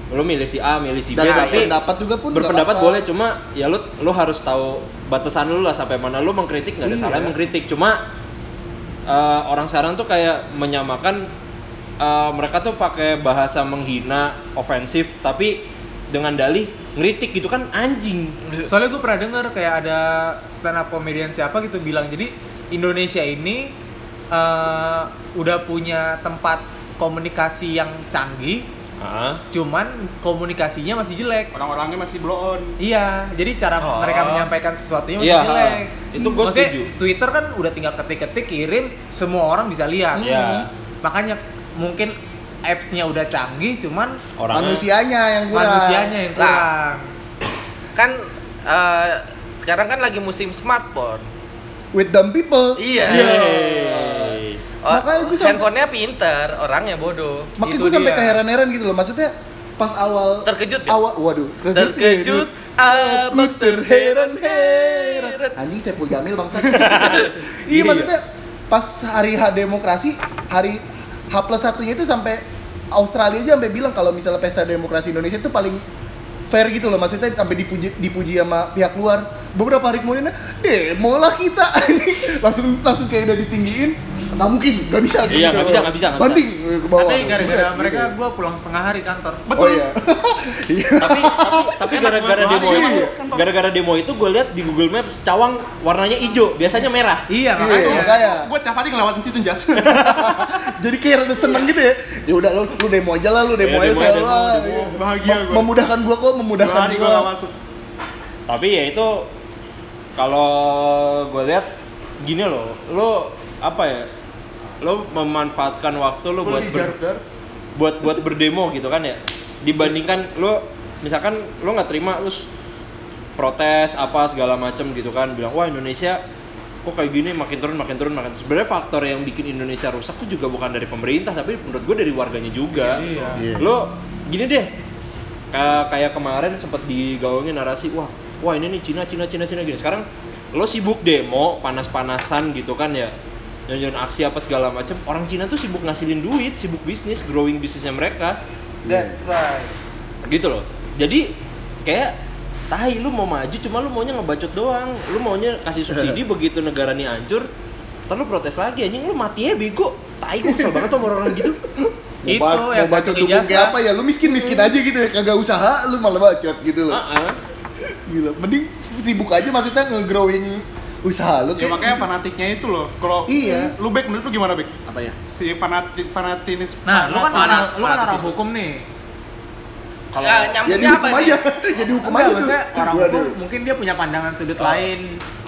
S2: Lo milih si A, milih si B,
S4: dan
S2: tapi
S4: pendapat juga pun nggak
S2: Iya, berpendapat
S4: apa-apa.
S2: boleh cuma ya lu lu harus tahu batasan lu lah sampai mana lu mengkritik nggak ada
S4: Iya.
S2: salahnya mengkritik cuma eh, orang sekarang tuh kayak menyamakan eh, mereka tuh pakai bahasa menghina ofensif tapi dengan dalih ngeritik gitu kan anjing
S1: Soalnya gue pernah denger kayak ada stand up comedian siapa gitu bilang jadi Indonesia ini eh, udah punya tempat komunikasi yang canggih,
S2: ah
S1: cuman komunikasinya masih jelek.
S6: orang-orangnya masih blow on
S1: Iya, jadi cara
S4: Oh.
S1: mereka menyampaikan sesuatunya masih
S2: Iya,
S1: jelek.
S2: ha. Itu gua
S1: Maksudnya,
S2: setuju.
S1: Twitter kan udah tinggal ketik-ketik, kirim, semua orang bisa lihat.
S2: Iya.
S1: Makanya mungkin apps-nya udah canggih, cuman
S2: orang
S4: manusianya yang kurang
S1: manusianya yang
S3: Lah.
S1: kurang.
S3: kan eh, sekarang kan lagi musim smartphone.
S4: with dumb people
S3: Iya. Oh,
S4: Makanya gua sampai-
S3: handphonenya pinter, orangnya bodoh.
S4: makanya
S1: Itu
S4: gue sampai
S1: dia.
S4: keheran-heran gitu loh maksudnya pas awal
S3: Terkejut ya?
S4: awal waduh
S3: Terkejut
S4: aku
S3: aku
S4: terheran-heran
S3: terheran-heran. ya.
S4: anjing saya jamil bangsa iya maksudnya pas hari H demokrasi hari H plus satunya itu sampai Australia aja sampai bilang kalau misalnya pesta demokrasi Indonesia itu paling fair gitu loh maksudnya sampai dipuji dipuji sama pihak luar beberapa hari kemudian demo lah kita langsung langsung kayak udah ditinggiin nggak mungkin nggak bisa gitu
S2: Iya, nggak bisa, nggak bisa, nggak bisa.
S4: banting eh, ke bawah
S1: Tapi gara-gara
S4: Buset,
S1: mereka
S4: gitu.
S1: gue pulang setengah hari kantor.
S4: oh iya iya
S2: tapi tapi- tapi gara-gara
S6: banget,
S2: demo
S6: iya.
S2: itu gara-gara demo itu gue lihat di Google Maps cawang warnanya hijau biasanya merah
S1: Iya,
S4: Iya,
S1: makanya.
S4: makanya.
S6: gue tiap hari ngelewatin situ jas
S4: Jadi kayak rada seneng gitu ya. Ya udah lu, lu demo aja lah, lu demo
S2: Iya,
S4: aja
S2: demo,
S4: segala
S2: demo,
S4: lah.
S6: demo. Bahagia
S4: Mem-
S6: gua.
S4: Memudahkan gua kok,
S6: dua
S4: memudahkan
S6: hari gue
S4: gua.
S6: gak masuk
S2: tapi ya itu kalau gue lihat gini loh lo apa ya lo memanfaatkan waktu lo buat ber- buat buat berdemo gitu kan ya dibandingkan lo misalkan lo nggak terima terus protes apa segala macem gitu kan bilang wah Indonesia kok kayak gini makin turun makin turun makin turun." sebenarnya faktor yang bikin Indonesia rusak tuh juga bukan dari pemerintah tapi menurut gue dari warganya juga
S4: Iya.
S2: lo gini deh ka- kayak kemarin sempat digaungin narasi wah wah ini nih Cina Cina Cina Cina gini sekarang lo sibuk demo panas-panasan gitu kan ya jangan aksi apa segala macem orang Cina tuh sibuk ngasilin duit sibuk bisnis growing bisnisnya mereka
S4: Iya.
S3: That's right.
S2: gitu loh jadi kayak tai lu mau maju cuma lu maunya ngebacot doang lu maunya kasih subsidi begitu negara ini hancur ntar lu protes lagi anjing lu mati ya bego tai gue kesel banget tuh sama orang gitu
S4: Mau
S1: Itu
S4: ba-
S1: yang
S4: mau bacot
S1: kaki
S4: dukung kayak
S1: jasa.
S4: apa ya? Lu miskin-miskin aja gitu ya, kagak usaha lu malah bacot gitu loh.
S2: Heeh.
S4: Gila, mending sibuk aja maksudnya nge-growing usaha lu
S6: ya
S4: kayak.
S6: makanya fanatiknya itu loh kalau
S4: Iya.
S6: lu back menurut lu gimana back
S5: apa ya
S6: si fanatik fanatinis
S1: Nah, lu kan
S6: fanatis-
S1: orang, lu kan orang
S6: fanatisisme.
S1: hukum nih.
S3: Kalau
S4: Ya
S3: nyambungnya apa
S4: dihukum
S3: sih?
S4: aja. Jadi hukum aja
S1: Enggak,
S4: tuh. Oh.
S1: maksudnya orang
S4: Gua
S1: hukum
S4: aduh.
S1: mungkin dia punya pandangan sudut lain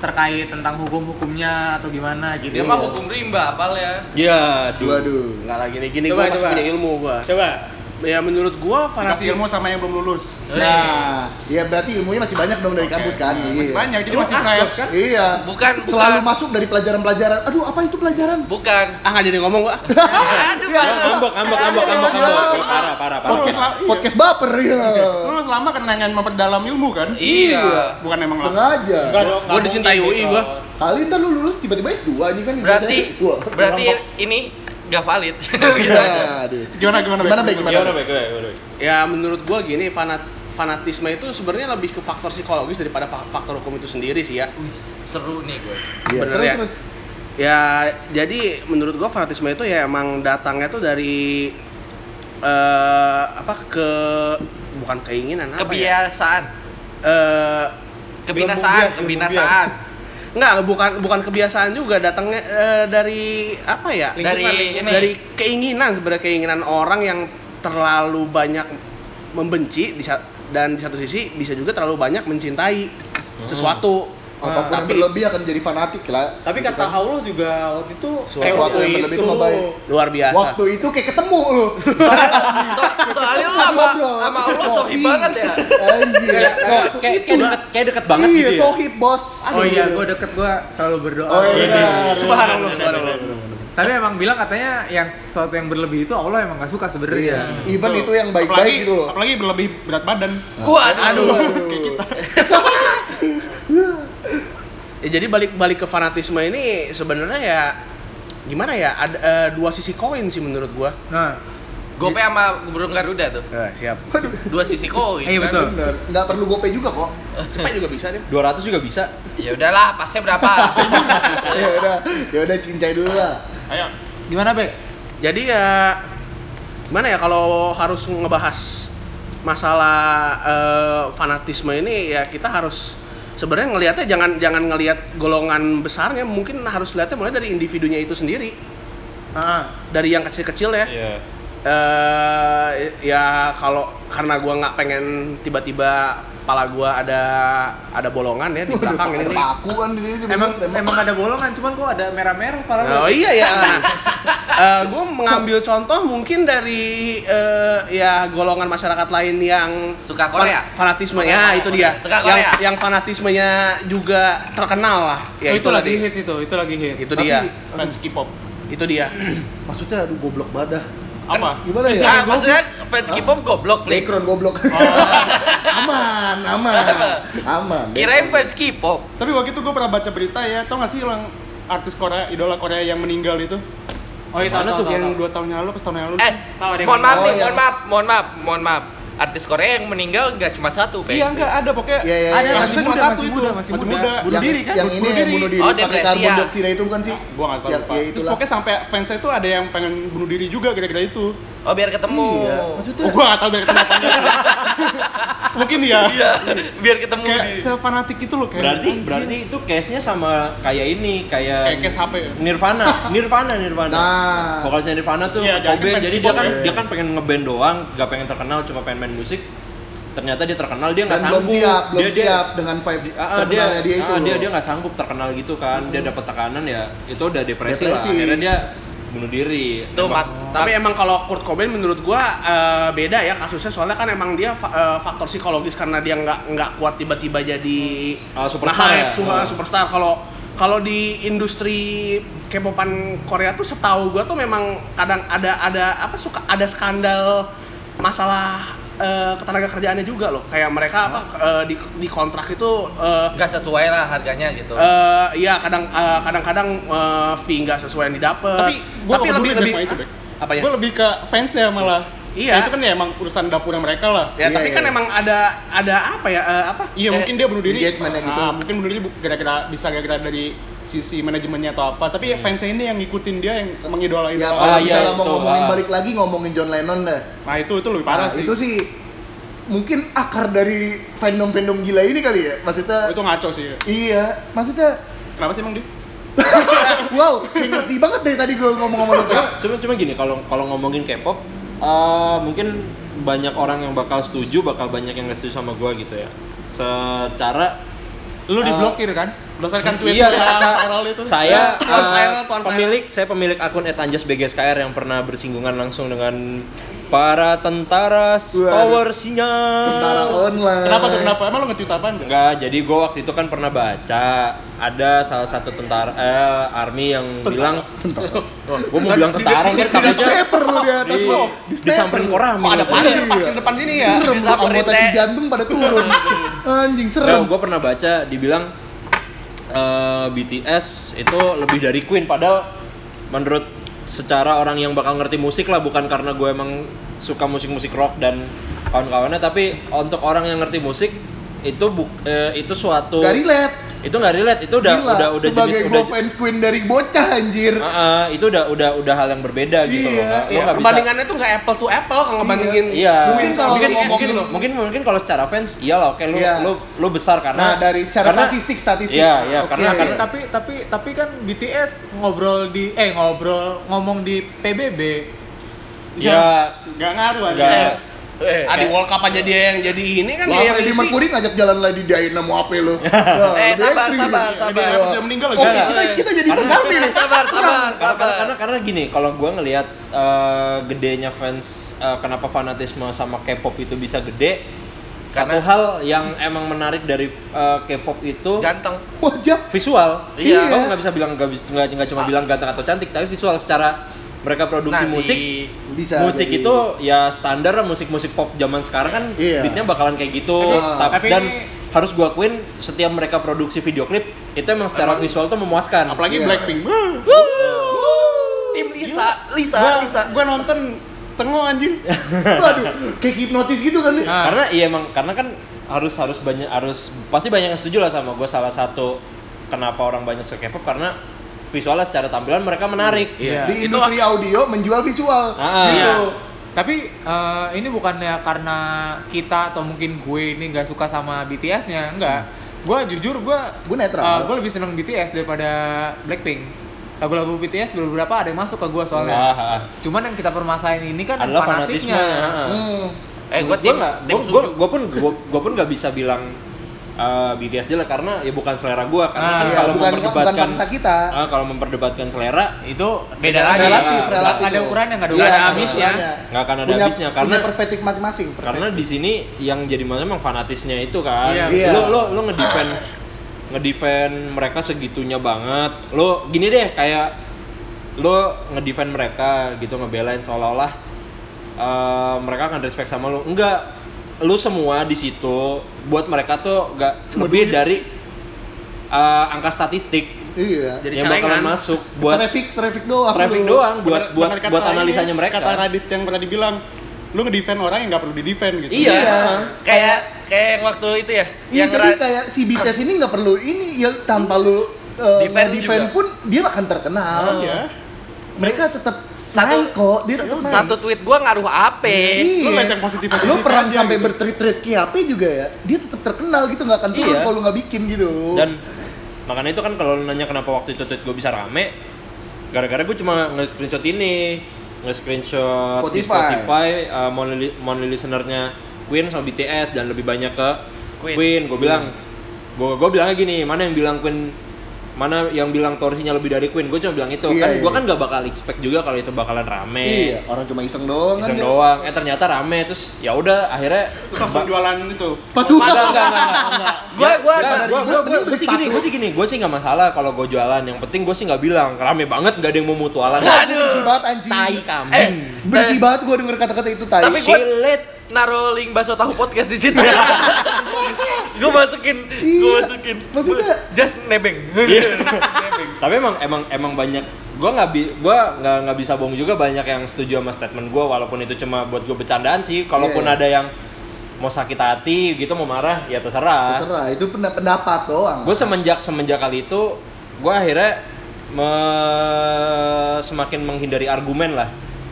S1: terkait tentang hukum-hukumnya atau gimana gitu.
S3: Dia mah hukum rimba apal ya.
S2: ya aduh
S4: Gua aduh.
S5: nggak lagi gini gini
S1: Coba,
S5: gue masih
S1: coba.
S5: punya ilmu gue
S1: Coba
S5: ya menurut gua fanatik
S6: Dikasih ilmu sama yang belum lulus.
S4: Nah, ya berarti ilmunya masih banyak dong dari kampus kan?
S6: Masih
S4: Iya.
S6: banyak, jadi
S5: Lu
S6: masih
S5: asdos
S6: fresh.
S5: kan?
S4: Iya.
S3: Bukan,
S4: Selalu
S3: bukan.
S4: masuk dari pelajaran-pelajaran. Aduh, apa itu pelajaran?
S3: bukan
S5: ah nggak jadi ngomong gua
S4: Aduh, ya,
S2: Ambok, ambok, ambok, ambok, ambok. Parah, parah, parah.
S4: podcast podcast baper ya.
S6: Lu selama kan pengen memperdalam ilmu kan?
S3: iya
S6: Bukan emang lah.
S4: Sengaja.
S1: dong,
S5: gua dicintai
S4: gitu.
S5: UI gua
S4: Kali ntar lu lulus tiba-tiba S2 anjing kan
S3: berarti
S4: biasanya. Wah,
S3: berarti
S4: ngambek.
S3: ini gak valid gitu
S4: Ya,
S3: aja
S4: aduh.
S6: Gimana gimana?
S4: Gimana, Bek?
S2: Gimana, Bek? Gimana, Bek?
S5: ya menurut gua gini fanat fanatisme itu sebenarnya lebih ke faktor psikologis daripada fa- faktor hukum itu sendiri sih ya
S3: Wih, seru nih gue
S4: Iya,
S5: Bener
S4: terus
S5: ya.
S4: terus.
S5: Ya, jadi menurut gua fanatisme itu ya emang datangnya tuh dari eh apa ke bukan keinginan apa ya?
S3: kebiasaan
S5: Eh,
S3: kebinasaan
S1: bias, belum
S3: kebinasaan
S5: enggak, bukan bukan kebiasaan juga datangnya eh, dari apa ya?
S1: Lingkungan,
S3: dari
S1: lingkungan.
S3: ini
S5: Dari keinginan sebenarnya keinginan orang yang terlalu banyak membenci di sa- dan di satu sisi bisa juga terlalu banyak mencintai sesuatu.
S4: Hmm.
S5: Eh,
S4: Apapun yang
S5: Tapi-
S4: berlebih akan jadi fanatik lah.
S1: Tapi
S4: Gitu
S1: kata
S4: kan.
S1: Allah juga waktu itu
S5: Suatu
S1: eh, waktu
S4: yang berlebih itu nggak baik.
S5: gitu. Luar biasa.
S4: Waktu itu kayak ketemu lu.
S3: So- soalnya lu sama sama Allah sohib banget ya
S4: Anjir. Waktu
S2: Kayak
S4: itu.
S2: kayak deket, kayak deket banget
S4: iya,
S2: gitu ya.
S4: sohib bos.
S1: Oh iya, gue deket gue selalu berdoa.
S4: Oh iya.
S5: Subhanallah, subhanallah.
S1: gitu. Tapi emang bilang katanya yang sesuatu yang berlebih itu Allah emang gak suka
S4: Iya.
S1: sebenarnya.
S4: Even itu yang
S6: Apalagi-
S4: baik-baik gitu loh.
S6: Apalagi berlebih berat badan.
S3: waduh
S4: Kayak kita.
S5: Ya, jadi balik-balik ke fanatisme ini sebenarnya ya gimana ya ada eh, dua sisi koin sih menurut gua.
S1: Nah,
S3: gope sama burung garuda tuh
S5: siap.
S3: dua sisi koin
S1: Iya,
S3: kan?
S1: betul.
S4: Bener. Nggak perlu gope juga kok.
S5: Cepet juga bisa
S4: Iya.
S5: nih.
S2: 200 juga bisa.
S3: ya udahlah pasnya berapa
S4: ya udah, ya udah cincai dulu lah.
S6: Ayo.
S1: gimana Bek?
S5: Jadi ya gimana ya kalau harus ngebahas masalah eh, fanatisme ini ya kita harus sebenarnya ngelihatnya jangan jangan ngelihat golongan besarnya mungkin harus lihatnya mulai dari individunya itu sendiri
S1: Ah,
S5: dari yang kecil-kecil ya.
S2: Iya.
S5: eh ya kalau karena gua nggak pengen tiba-tiba pala gua ada ada bolongan ya di belakang ini. nih.
S4: Aku kan di sini tiba-tiba
S1: emang
S4: tembak.
S1: emang ada bolongan, cuman kok ada merah-merah pala lu?
S5: Oh iya ya. Eh gua mengambil contoh mungkin dari eh, ya golongan masyarakat lain yang
S3: Suka Korea?
S5: fan- fanatisme ya itu dia.
S3: Suka
S5: Yang
S3: Korea?
S5: yang fanatismenya juga terkenal lah. Ya
S1: Oh,
S5: itu,
S1: itu lagi
S5: tadi.
S1: hits itu, itu lagi hits.
S5: Itu dia.
S6: Fans K-pop.
S5: Itu dia.
S4: Maksudnya aduh goblok badah.
S6: Apa?
S4: Gimana ya?
S3: ah maksudnya fans K-pop goblok nih
S4: Background goblok. aman, aman. Aman.
S3: kirain fans K-pop
S6: Tapi waktu itu gue pernah baca berita ya, tau gak sih yang artis Korea, idola Korea yang meninggal itu?
S1: Oh iya, tahu
S6: Mana
S1: tahu
S6: tuh
S1: tahu,
S6: yang
S1: tahu.
S6: dua tahun yang lalu, pas tahun yang lalu?
S3: eh
S1: Tahu ada yang
S3: mohon maaf
S4: meninggal.
S3: nih
S4: Oh, iya.
S3: mohon maaf mohon maaf mohon maaf artis Korea yang meninggal nggak cuma satu Pe.
S6: Iya enggak ada pokoknya.
S4: Iya, iya,
S6: ada
S4: iya.
S6: yang
S1: Masih
S6: cuma
S1: muda,
S6: satu
S1: masih
S6: itu.
S1: muda, masih muda.
S6: Bunuh
S4: Yang-
S6: diri kan?
S4: Yang ini yang bunuh diri
S3: Oh,
S4: pakai
S3: depresi,
S4: karbon
S3: ya.
S4: dioksida itu bukan sih?
S6: Gua nggak tahu
S4: Yang-
S6: lupa.
S4: ya,
S6: Terus
S4: itulah.
S6: pokoknya sampai fansnya itu ada yang pengen bunuh diri juga gara-gara itu.
S3: oh biar ketemu
S4: Iya, maksudnya
S6: Oh, gua nggak tahu dari kenapa. Mungkin ya.
S3: Iya, biar ketemu
S6: Kayak
S3: di
S6: sefanatik itu
S4: Iya.
S6: loh kayak.
S2: Berarti berarti itu case-nya sama kayak ini,
S6: kayak ya?
S2: kayak
S6: case HP.
S2: Nirvana, Nirvana, Nirvana.
S4: Nah.
S2: Vokalisnya Nirvana tuh
S6: Iya, jadi
S2: Cobain,
S6: fans
S2: jadi dia
S6: K-pop.
S2: kan
S4: Iya.
S2: dia kan pengen ngeband doang, gak pengen terkenal, cuma pengen main musik. Ternyata dia terkenal, dia
S4: dan
S2: nggak
S4: belum
S2: sanggup.
S4: siap, belum
S2: dia,
S4: siap dengan vibe
S2: Dia, ah, ah, dia,
S4: terkenalnya ya dia itu.
S2: ah, dia
S4: loh.
S2: dia nggak sanggup terkenal gitu kan, dia dapat tekanan ya, itu udah depresi, lah.
S4: Depresi.
S2: Akhirnya dia bunuh diri.
S3: tuh
S2: Emang-
S3: mat
S5: Tapi emang kalau Kurt Cobain menurut gua eh, beda ya kasusnya soalnya kan emang dia fa- eh, faktor psikologis karena dia nggak nggak kuat tiba-tiba jadi
S6: Oh,
S2: Ah, superstar
S5: nah,
S2: ya?
S5: cuma
S2: Ah.
S5: superstar kalau kalau di industri K-popan Korea tuh setahu gua tuh memang kadang ada ada apa suka ada skandal masalah eh, ketenaga kerjaannya juga loh kayak mereka
S6: Oh.
S5: apa eh, di di kontrak itu eh,
S3: nggak sesuai lah harganya gitu
S5: eh, ya kadang eh, kadang-kadang eh, fee nggak sesuai yang didapat
S6: Tapi gua nggak peduli deh sama itu, Bek.
S5: apa ya
S6: Gue lebih ke fansnya malah. Ya,
S5: Iya.
S6: itu kan ya emang urusan dapurnya mereka lah.
S5: Ya,
S4: Iya,
S5: tapi
S4: iya,
S5: kan
S4: iya.
S5: emang ada ada apa ya? eh, apa?
S6: Iya mungkin dia bunuh diri.
S4: engagement-nya gitu.
S6: Ah, mungkin bunuh diri bu- gara-gara bisa gara-gara dari sisi manajemennya atau apa. Tapi ya fansnya ini yang ngikutin dia yang mengidolain.
S4: Ya
S6: orang.
S4: kalau
S2: Ah, iya,
S4: misalnya mau
S2: itu,
S4: ngomongin
S2: ah.
S4: balik lagi ngomongin John Lennon deh.
S6: Nah itu itu lebih parah
S4: Nah,
S6: sih.
S4: Itu sih mungkin akar dari fandom-fandom gila ini kali ya.
S6: Oh,
S4: Maksudnya
S6: itu ngaco sih.
S4: iya, maksudnya
S6: Kenapa sih emang dia?
S4: wow, kayak ngerti banget dari tadi gue ngomong sama lu.
S2: cuma cuma cuma gini kalau kalau ngomongin K-pop eh, mungkin banyak orang yang bakal setuju bakal banyak yang nggak setuju sama gua gitu ya secara
S1: Lu
S2: Ah.
S1: diblokir kan?
S6: Berdasarkan tweet
S2: iya
S6: yang
S2: saya
S6: viral itu.
S2: saya
S5: ya. Tuan
S2: eh,
S5: viral, tuan viral.
S2: pemilik saya pemilik akun @anjas_bgskr yang pernah bersinggungan langsung dengan Para tentara tower sinyal.
S4: Tentara online.
S6: Kenapa tuh? Kenapa? Emang lo nge-tweet apaan? Jas?
S2: Enggak, jadi gue waktu itu kan pernah baca ada salah satu tentara eh, army yang bilang gue mau bilang tentara kan tapi
S4: Di sniper lu di atas
S2: di,
S4: lo.
S2: Iya, disamperin koram
S5: Kok ada pasir
S4: Iya.
S5: parkir depan sini ya?
S4: Serem,
S3: Disamperin,
S4: anggota
S3: Teh.
S4: cijantung pada turun. Anjing
S2: dan
S4: serem.
S2: gue Nah, pernah baca dibilang eh, BTS itu lebih dari Queen padahal menurut secara orang yang bakal ngerti musik lah bukan karena gue emang suka musik-musik rock dan kawan-kawannya tapi untuk orang yang ngerti musik itu buk- eh, itu suatu
S4: Gak relate.
S2: itu nggak relate itu udah
S4: Gila,
S2: udah udah
S4: sebagai
S2: jenis
S4: gue
S2: udah
S4: fans Queen dari bocah anjir.
S2: Ah, ah, itu udah udah udah hal yang berbeda gitu
S4: Iya,
S2: loh. Nggak- lo
S5: Iya,
S2: nggak bisa-
S5: perbandingannya tuh nggak apple to apple kalau ngebandingin
S2: Iya.
S4: Mungkin kalau
S2: mungkin,
S4: ngomongin-
S2: mungkin, mungkin mungkin kalau secara fans iyalah oke lu
S4: Iya.
S2: lu lu besar karena
S4: Nah, dari secara
S2: karena-
S4: statistik statistik.
S2: Iya, iya,
S4: Oke.
S2: karena
S1: Tapi-
S2: karena
S1: Nah, kan tapi tapi tapi kan BTS ngobrol di eh ngobrol ngomong di PBB.
S2: ya
S6: Nggak ngaruh aja.
S2: enggak
S3: Eh,
S5: Adi World Cup aja dia yang jadi ini kan
S4: Lah,
S5: dia yang
S4: Freddie
S5: ngisi.
S4: Mercury ngajak jalan lagi di Diana mau apa lo?
S3: eh sabar, sabar,
S6: Jadi
S3: sabar,
S4: Iya.
S6: Elvis udah meninggal lagi.
S4: Oke,
S2: Enggak,
S4: kita kita jadi
S2: Karena-
S4: pendamping nih.
S3: sabar, sabar,
S2: karena, karena,
S3: sabar.
S2: karena, karena gini, kalau gua ngelihat eh, gedenya fans, eh, kenapa fanatisme sama K-pop itu bisa gede, satu
S3: Karena-
S2: hal yang emang menarik dari eh, K-pop itu
S3: Ganteng.
S4: Wajah.
S2: visual
S3: Iya.
S2: lo nggak bisa bilang nggak bisa- nggak nggak cuma bilang ganteng atau cantik tapi visual secara mereka produksi
S3: Nah, di-
S2: musik
S4: Bisa.
S2: musik
S4: jadi-
S2: itu ya standar lah musik-musik pop zaman sekarang kan
S4: Iya. Ah.
S2: beatnya bakalan kayak gitu
S4: Tapi-
S2: Tap-
S1: tapi
S2: dan
S1: ini-
S2: harus gua akuin setiap mereka produksi video klip itu emang secara visual tuh memuaskan
S6: Apalagi
S4: Iya.
S6: Blackpink.
S3: tim Lisa, Lisa,
S6: Gua-
S3: Lisa.
S6: Gua nonton tengo anjing.
S4: Waduh, kayak hipnotis gitu kan nih.
S1: Nah,
S2: karena iya emang karena kan harus harus banyak harus pasti banyak yang setuju lah sama gue salah satu kenapa orang banyak suka K-pop karena visualnya secara tampilan mereka menarik
S1: Iya.
S4: Di industri audio menjual visual.
S2: Ah,
S4: gitu.
S1: Nah, Tapi eh, ini bukannya karena kita atau mungkin gue ini nggak suka sama BTS-nya, enggak. Gue jujur gue
S4: Gue netral.
S1: gue lebih seneng BTS daripada Blackpink. Lagu-lagu BTS beberapa ada yang masuk ke gue soalnya.
S2: Wah, ah.
S1: Cuman yang kita permasalahin ini Iya. kan
S2: adalah
S1: fanatiknya.
S2: fanatisme ah.
S4: Hmm.
S3: Eh, gua
S2: gue
S3: tim,
S2: nggak
S3: tim
S2: gue
S3: suju.
S2: gue pun gue pun nggak bisa bilang eh, BTS jelek karena ya bukan selera gue karena
S1: Ah,
S2: kan
S4: Iya,
S2: kalau
S4: bukan bukan
S2: memperdebatkan
S4: bangsa kita.
S2: ah, kalau memperdebatkan selera
S1: Itu
S3: Beda
S1: beda lagi.
S3: lagi.
S4: Relatif,
S2: nggak-
S4: relatif.
S1: nggak ada ukurannya, nggak ada ya.
S4: Iya,
S1: ukurannya.
S4: ukurannya.
S2: Nggak akan ada
S4: Punya-
S2: habisnya, karena-
S4: punya perspektif masing-masing.
S2: karena di sini yang jadi masalah emang fanatisnya itu kan
S1: Iya.
S4: Iya.
S2: lo lo lo ngedefend ngedefend mereka segitunya banget lo gini deh kayak lo ngedefend mereka gitu ngebelain seolah-olah eh, mereka akan respect sama lo enggak lo semua di situ buat mereka tuh gak lebih dari eh, angka statistik
S4: Iya.
S3: Jadi
S2: yang bakalan
S3: celengan.
S2: masuk buat
S4: traffic traffic doang.
S2: traffic
S4: dulu.
S2: doang buat
S6: Bener-
S2: buat
S6: bener kata
S2: buat
S6: ini,
S2: analisanya
S6: Kata
S2: mereka
S6: Radit yang pernah dibilang, lu ngedefend orang yang nggak perlu di defend gitu.
S2: Iya.
S3: Kayak kayak yang waktu itu ya,
S4: Iya,
S3: yang
S4: tapi
S3: ra-
S4: kayak si BTS ini nggak perlu ini ya tanpa lu uh,
S3: Defend
S4: defend
S3: juga.
S4: pun dia akan terkenal.
S6: Iya.
S4: Mereka tetap
S3: Satu-
S4: naik kok, dia tetap naik.
S3: satu tweet gua ngaruh ape.
S4: Iya.
S6: Lu ngajak positif-positif
S4: Lu perang
S6: aja
S4: sampai
S6: gitu.
S4: bertrit-trit KAP juga ya, dia tetap terkenal gitu nggak akan
S2: Iya.
S4: turun kalau lu nggak bikin gitu.
S2: dan makanya itu kan kalau lu nanya kenapa waktu itu tweet gue bisa rame gara-gara gue cuma nge-screenshot ini nge-screenshot di
S4: Spotify.
S2: Spotify uh, monthly, monthly listenernya Queen sama BTS dan lebih banyak ke Queen,
S3: Queen.
S2: gue bilang gue gue bilangnya gini mana yang bilang Queen mana yang bilang torsinya lebih dari Queen gue cuma bilang itu
S4: Iya,
S2: kan
S4: iya.
S2: gue kan gak bakal expect juga kalau itu bakalan rame
S4: iya, orang cuma iseng doang
S2: Iseng
S4: kan.
S2: doang eh ternyata rame terus ya udah akhirnya
S6: Lu langsung jualan itu.
S4: Sepatu.
S2: enggak, enggak, enggak, enggak.
S3: Gua- gua-
S2: Enggak,
S4: pada
S2: gua,
S4: ribut,
S2: gua, gua,
S4: mending
S2: gua sih gini,
S4: sepatu.
S2: gua sih gini, gua sih nggak masalah kalau gua jualan. Yang penting gua sih nggak bilang. Rame banget, nggak ada yang mau mutualan.
S4: Wah, gua benci banget anjing.
S2: Tai kami.
S3: Eh,
S4: Benci banget gua denger kata-kata itu tai.
S3: Tapi gua-
S2: Shilit.
S3: naro link bakso tahu podcast di situ. gua masukin,
S4: Iya.
S3: gua masukin.
S4: Maksudnya Iya.
S3: Just nebeng.
S2: Tapi emang emang emang banyak gua nggak bi gua nggak nggak bisa bohong juga banyak yang setuju sama statement gua walaupun itu cuma buat gua bercandaan sih. Kalaupun
S4: Iya, iya.
S2: ada yang mau sakit hati gitu mau marah ya terserah.
S4: terserah itu penda- pendapat doang.
S2: Gue semenjak semenjak kali itu gua akhirnya me- semakin menghindari argumen lah.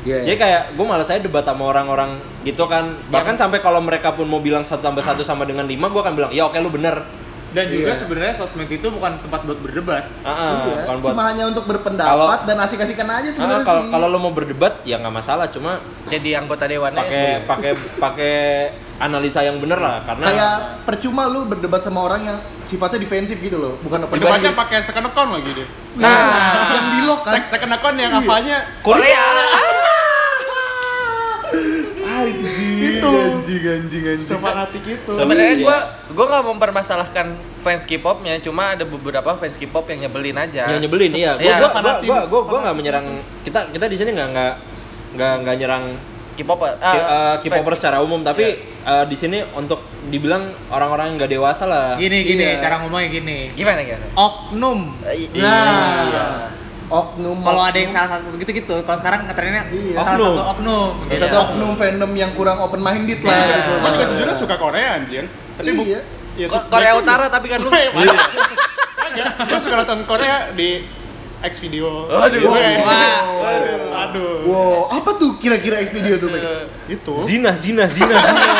S4: Iya.
S2: Jadi kayak gue malas saya debat sama orang-orang gitu kan. Bahkan sampai kalau mereka pun mau bilang satu tambah satu sama dengan lima, gue akan bilang ya oke lu bener.
S1: Dan juga
S4: Iya.
S1: sebenarnya sosmed itu bukan tempat buat berdebat.
S2: Ah, ah,
S4: Iya,
S2: bukan buat.
S4: cuma hanya untuk berpendapat
S2: Kalau-
S4: dan asik-asikan aja
S2: Ah, ah,
S4: sebenarnya
S2: kalau
S4: sih.
S2: kalau lo mau berdebat ya nggak masalah, cuma
S3: Jadi anggota dewan
S2: pakai pakai pakai analisa yang bener lah karena
S4: kayak percuma lu berdebat sama orang yang sifatnya defensif gitu loh, bukan open minded.
S6: Debatnya pakai second account lagi deh.
S4: Nah, yang di lock kan.
S6: Sek- Second account yang hafalnya
S3: Korea.
S6: itu.
S1: Anjing anjing anjing.
S6: Sefanatik itu.
S3: Sebenarnya
S4: Iya.
S3: gue gue nggak mempermasalahkan fans K-popnya, cuma ada beberapa fans K-pop yang nyebelin aja.
S2: yang nyebelin iya gua gua
S3: Iya,
S2: gua
S6: fanatis,
S2: gua gua, gua nggak menyerang kita kita di sini nggak nggak nggak nggak nyerang
S3: K-pop, eh,
S2: K- eh,
S3: fans-
S2: K-popers secara umum tapi eh, di sini untuk dibilang orang-orang yang nggak dewasa lah
S1: Gini gini
S4: Iya.
S1: cara ngomongnya gini.
S3: Gimana gimana?
S1: Oknum.
S3: Eh, i-
S1: Nah.
S4: oknum
S1: Kalau ada yang salah satu gitu gitu, kalau sekarang ngetrennya
S4: Iya.
S1: salah
S2: Oknum.
S1: satu oknum.
S2: Salah
S1: Iya.
S2: satu
S4: oknum fandom yang kurang open minded lah
S1: Iya.
S4: gitu
S6: Mas sejujurnya suka Korea anjir. Tapi bu-
S4: Iya.
S6: ya,
S3: Ko-
S6: su-
S3: Korea
S6: gua-
S3: Utara tapi kan lu
S6: Iya, makanya. Makanya, Gua suka nonton Korea di X video.
S2: Aduh.
S6: Gue-
S3: Wah.
S6: Aduh. Aduh.
S4: Wow, apa tuh kira-kira X video tuh? Meg?
S6: Itu.
S2: zina zina zina zina.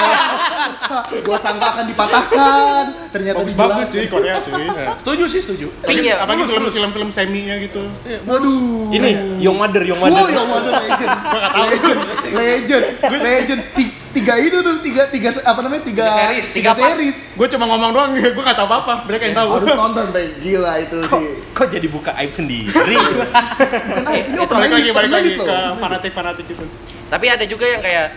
S4: Hah, gua sangka akan dipatahkan, ternyata
S6: Bagus
S4: dijelaskan.
S6: bagus cuy Korea cuy.
S2: Iya.
S5: Setuju sih, setuju.
S3: Pink ya?
S6: Apalagi
S3: Mulus,
S6: film- film-film seminya gitu.
S4: Waduh.
S2: ini young mother young
S4: Wow,
S2: mother
S4: yang waduh legend. legend, legend, legend. Ti- Tiga itu tuh, tiga, tiga, se- apa namanya, tiga,
S1: Tiga series.
S4: tiga
S3: Tiga part.
S4: series.
S6: Gue cuma ngomong doang, gue gak tau apa-apa. Mereka yang tahu.
S4: Harus nonton, Bang. Gila itu sih. Kan
S2: kok jadi buka aib sendiri
S4: Kenapa? Ini
S3: itu
S4: open
S6: Balik lagi,
S4: minded, open
S6: balik lagi
S4: minded
S6: ke
S4: loh.
S6: fanatik-fanatik itu.
S3: Tapi ada juga yang kayak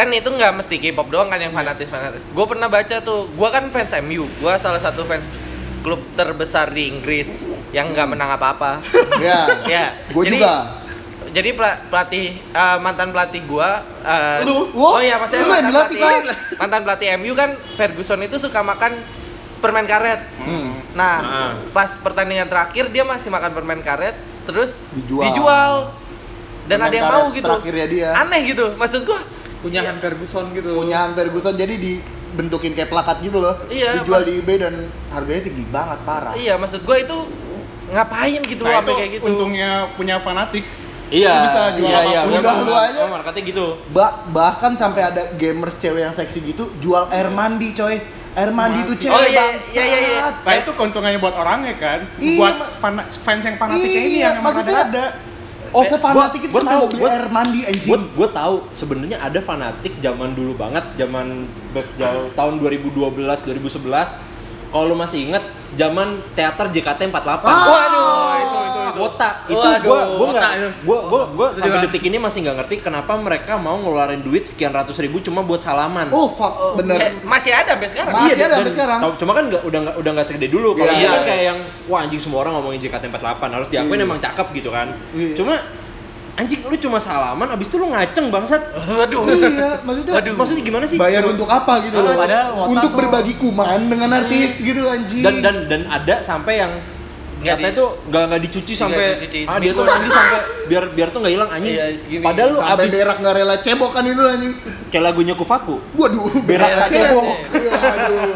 S3: kan itu nggak mesti K-pop doang kan
S4: Iya.
S3: yang fanatis fanatis. Gue pernah baca tuh, gue kan fans MU, gue salah satu fans klub terbesar di Inggris yang nggak menang apa-apa.
S4: Ya,
S3: ya.
S4: gue
S3: jadi-
S4: juga.
S3: Jadi pela- pelatih eh, mantan pelatih gua eh,
S4: Lu?
S3: oh iya maksudnya
S4: Lu main
S3: mantan
S4: dilatih
S3: pelatih mantan pelatih MU kan Ferguson itu suka makan permen karet.
S4: Hmm.
S3: Nah,
S2: Ah.
S3: pas pertandingan terakhir dia masih makan permen karet terus
S4: Dijual.
S3: dijual. Dan
S4: Permen
S3: ada yang
S4: karet
S3: mau gitu.
S4: terakhirnya dia.
S3: Aneh gitu. Maksud gua
S1: Punya Han Ferguson gitu.
S4: Punyaan Ferguson jadi dibentukin kayak plakat gitu loh.
S3: Iya,
S4: Dijual
S3: Pak.
S4: di eBay dan harganya tinggi banget parah.
S3: iya maksud gua itu ngapain gitu loh
S6: Nah itu
S3: sampai kayak gitu.
S6: untungnya punya fanatik.
S2: iya
S6: Lu bisa jual
S2: iya iya
S6: apapun.
S4: Udah lu aja.
S2: Memang marketnya gitu
S4: Ba- bahkan sampai ada gamers cewek yang seksi gitu jual air mandi, coy. Air mandi tuh cewek
S3: Oh, iya,
S4: bangsat.
S3: iya, iya, iya.
S6: Nah itu keuntungannya buat orangnya kan,
S4: Iya,
S6: buat
S4: ma-
S6: fana- fans yang fanatiknya ini
S4: Iya,
S6: yang emang
S4: maksudnya-
S6: ada.
S4: Oh,
S3: Eh,
S4: sefanatik itu
S2: gua
S4: sampai
S2: tahu,
S4: mau beli
S2: gua-
S4: air mandi anjing.
S2: gue gue tahu sebenarnya ada fanatik zaman dulu banget zaman back jauh tahun 2012 2011 kalau lu masih inget zaman teater JKT 48
S4: Ah! Waduh,
S2: itu itu itu otak itu gue gue nggak gue gue gue sampai detik ini masih nggak ngerti kenapa mereka mau ngeluarin duit sekian ratus ribu cuma buat salaman Iya,
S4: Oh fuck,
S3: Oh, eh,
S4: bener.
S3: masih ada sampai sekarang.
S4: Ma- masih ada
S2: dan-
S4: sampai sekarang.
S2: tau- Cuma kan nggak udah nggak udah nggak segede dulu. Kalau
S4: Iya.
S2: dulu kan kayak yang wah anjing semua orang ngomongin JKT48 harus diakuin
S4: Iya.
S2: emang cakep gitu kan.
S4: Iya.
S2: Cuma anjing lu cuma salaman abis itu lu ngaceng bangsat.
S3: Waduh.
S4: Iya, maksudnya
S2: Aduh. Maksudnya gimana sih?
S4: bayar untuk apa gitu loh.
S1: padahal Wota
S4: untuk
S1: tuh-
S4: berbagi kuman dengan artis
S3: Iya.
S4: gitu anjing.
S2: dan dan dan ada sampai yang
S3: Nggak
S2: katanya
S3: di-
S2: tuh nggak nggak dicuci
S3: Nggak
S2: sampai
S3: dicuci,
S2: ah dia tuh
S3: seminggu.
S2: mandi sampai biar biar tuh nggak hilang anjing.
S3: Iya, segini.
S2: Padahal lu
S4: sampai
S2: abis
S4: berak nggak rela cebok kan itu anjing.
S2: kayak lagunya Kufaku.
S4: Waduh, berak nggak
S3: Berak
S4: cebok. Aduh,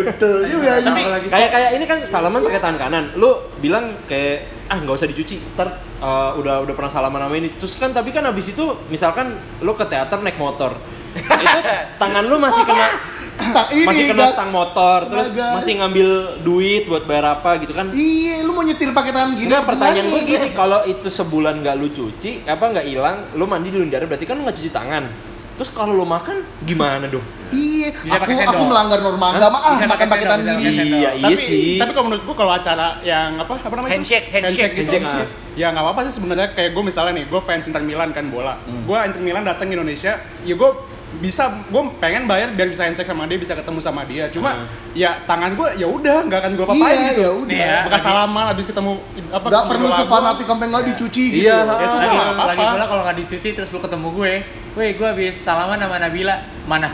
S4: betul juga anjing.
S2: kayak kayak ini kan salaman pakai tangan kanan lu bilang kayak ah nggak usah dicuci ter eh, udah udah pernah salaman sama ini terus kan tapi kan abis itu misalkan lu ke teater naik motor itu tangan lu masih kena
S4: Stang ini
S2: masih kena
S4: gas.
S2: stang motor terus
S4: Tenaga.
S2: masih ngambil duit buat bayar apa gitu kan
S4: Iya, lu mau nyetir pakai tangan gini.
S2: Enggak, pertanyaan gue
S4: gimana? ya?
S2: gini, kalau itu sebulan nggak lu cuci, apa nggak hilang, lu mandi di udara berarti kan lu nggak cuci tangan. Terus kalau lu makan gimana dong?
S4: Iya,
S1: Bisa
S4: aku
S1: pakai
S4: aku
S1: sendok.
S4: melanggar norma agama
S1: Bisa
S4: ah makan
S1: pakai sendok,
S4: pakai tangan
S1: bisa
S4: gini.
S1: pakai sendok.
S2: Iya, iya
S6: tapi,
S2: sih.
S6: tapi kalau menurut gue kalau acara yang apa apa namanya
S3: Handshake,
S6: itu?
S3: handshake.
S6: gitu.
S2: Handshake, ah.
S6: ya nggak apa-apa sih sebenarnya kayak gue misalnya nih gue fans Inter Milan kan bola gue Inter Milan datang ke Indonesia ya gue bisa gue pengen bayar biar bisa handshake sama dia bisa ketemu sama dia
S2: Ah.
S6: cuma ya tangan gue ya udah nggak akan gue apa-apain
S4: Iya,
S6: gitu
S4: ya udah.
S6: Nih ya, bekas salaman abis ketemu apa
S4: Enggak
S6: ketemu
S4: perlu
S6: bola gua.
S4: sefanatik sampai nggak dicuci gitu.
S2: Iya,
S6: ya itu
S1: Lagi,
S6: gue nggak
S1: lagi
S6: apa-apa
S1: pula kalau nggak dicuci terus lu ketemu gue, weh gue habis salaman sama Nabila, mana?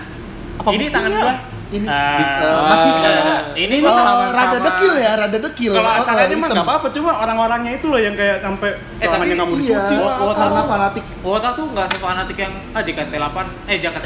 S6: Apa
S1: ini
S6: buktinya?
S1: tangan gue.
S4: Ini
S1: Ah.
S4: eh, masih
S2: Iya,
S3: Ah.
S1: ini
S4: eh,
S1: gue salaman
S4: rada
S1: sama-
S4: dekil ya, rada dekil. Eh,
S6: kalau
S4: eh,
S6: acaranya mah
S4: hitam.
S6: nggak apa-apa cuma orang-orangnya itu loh yang kayak sampai
S1: Eh, tapi
S6: tangannya nggak mau
S4: Iya,
S6: dicuci lah.
S1: Wota
S4: karena
S1: tuh-
S4: fanatik
S1: Wota tuh nggak sefanatik yang ah JKT8, eh JKT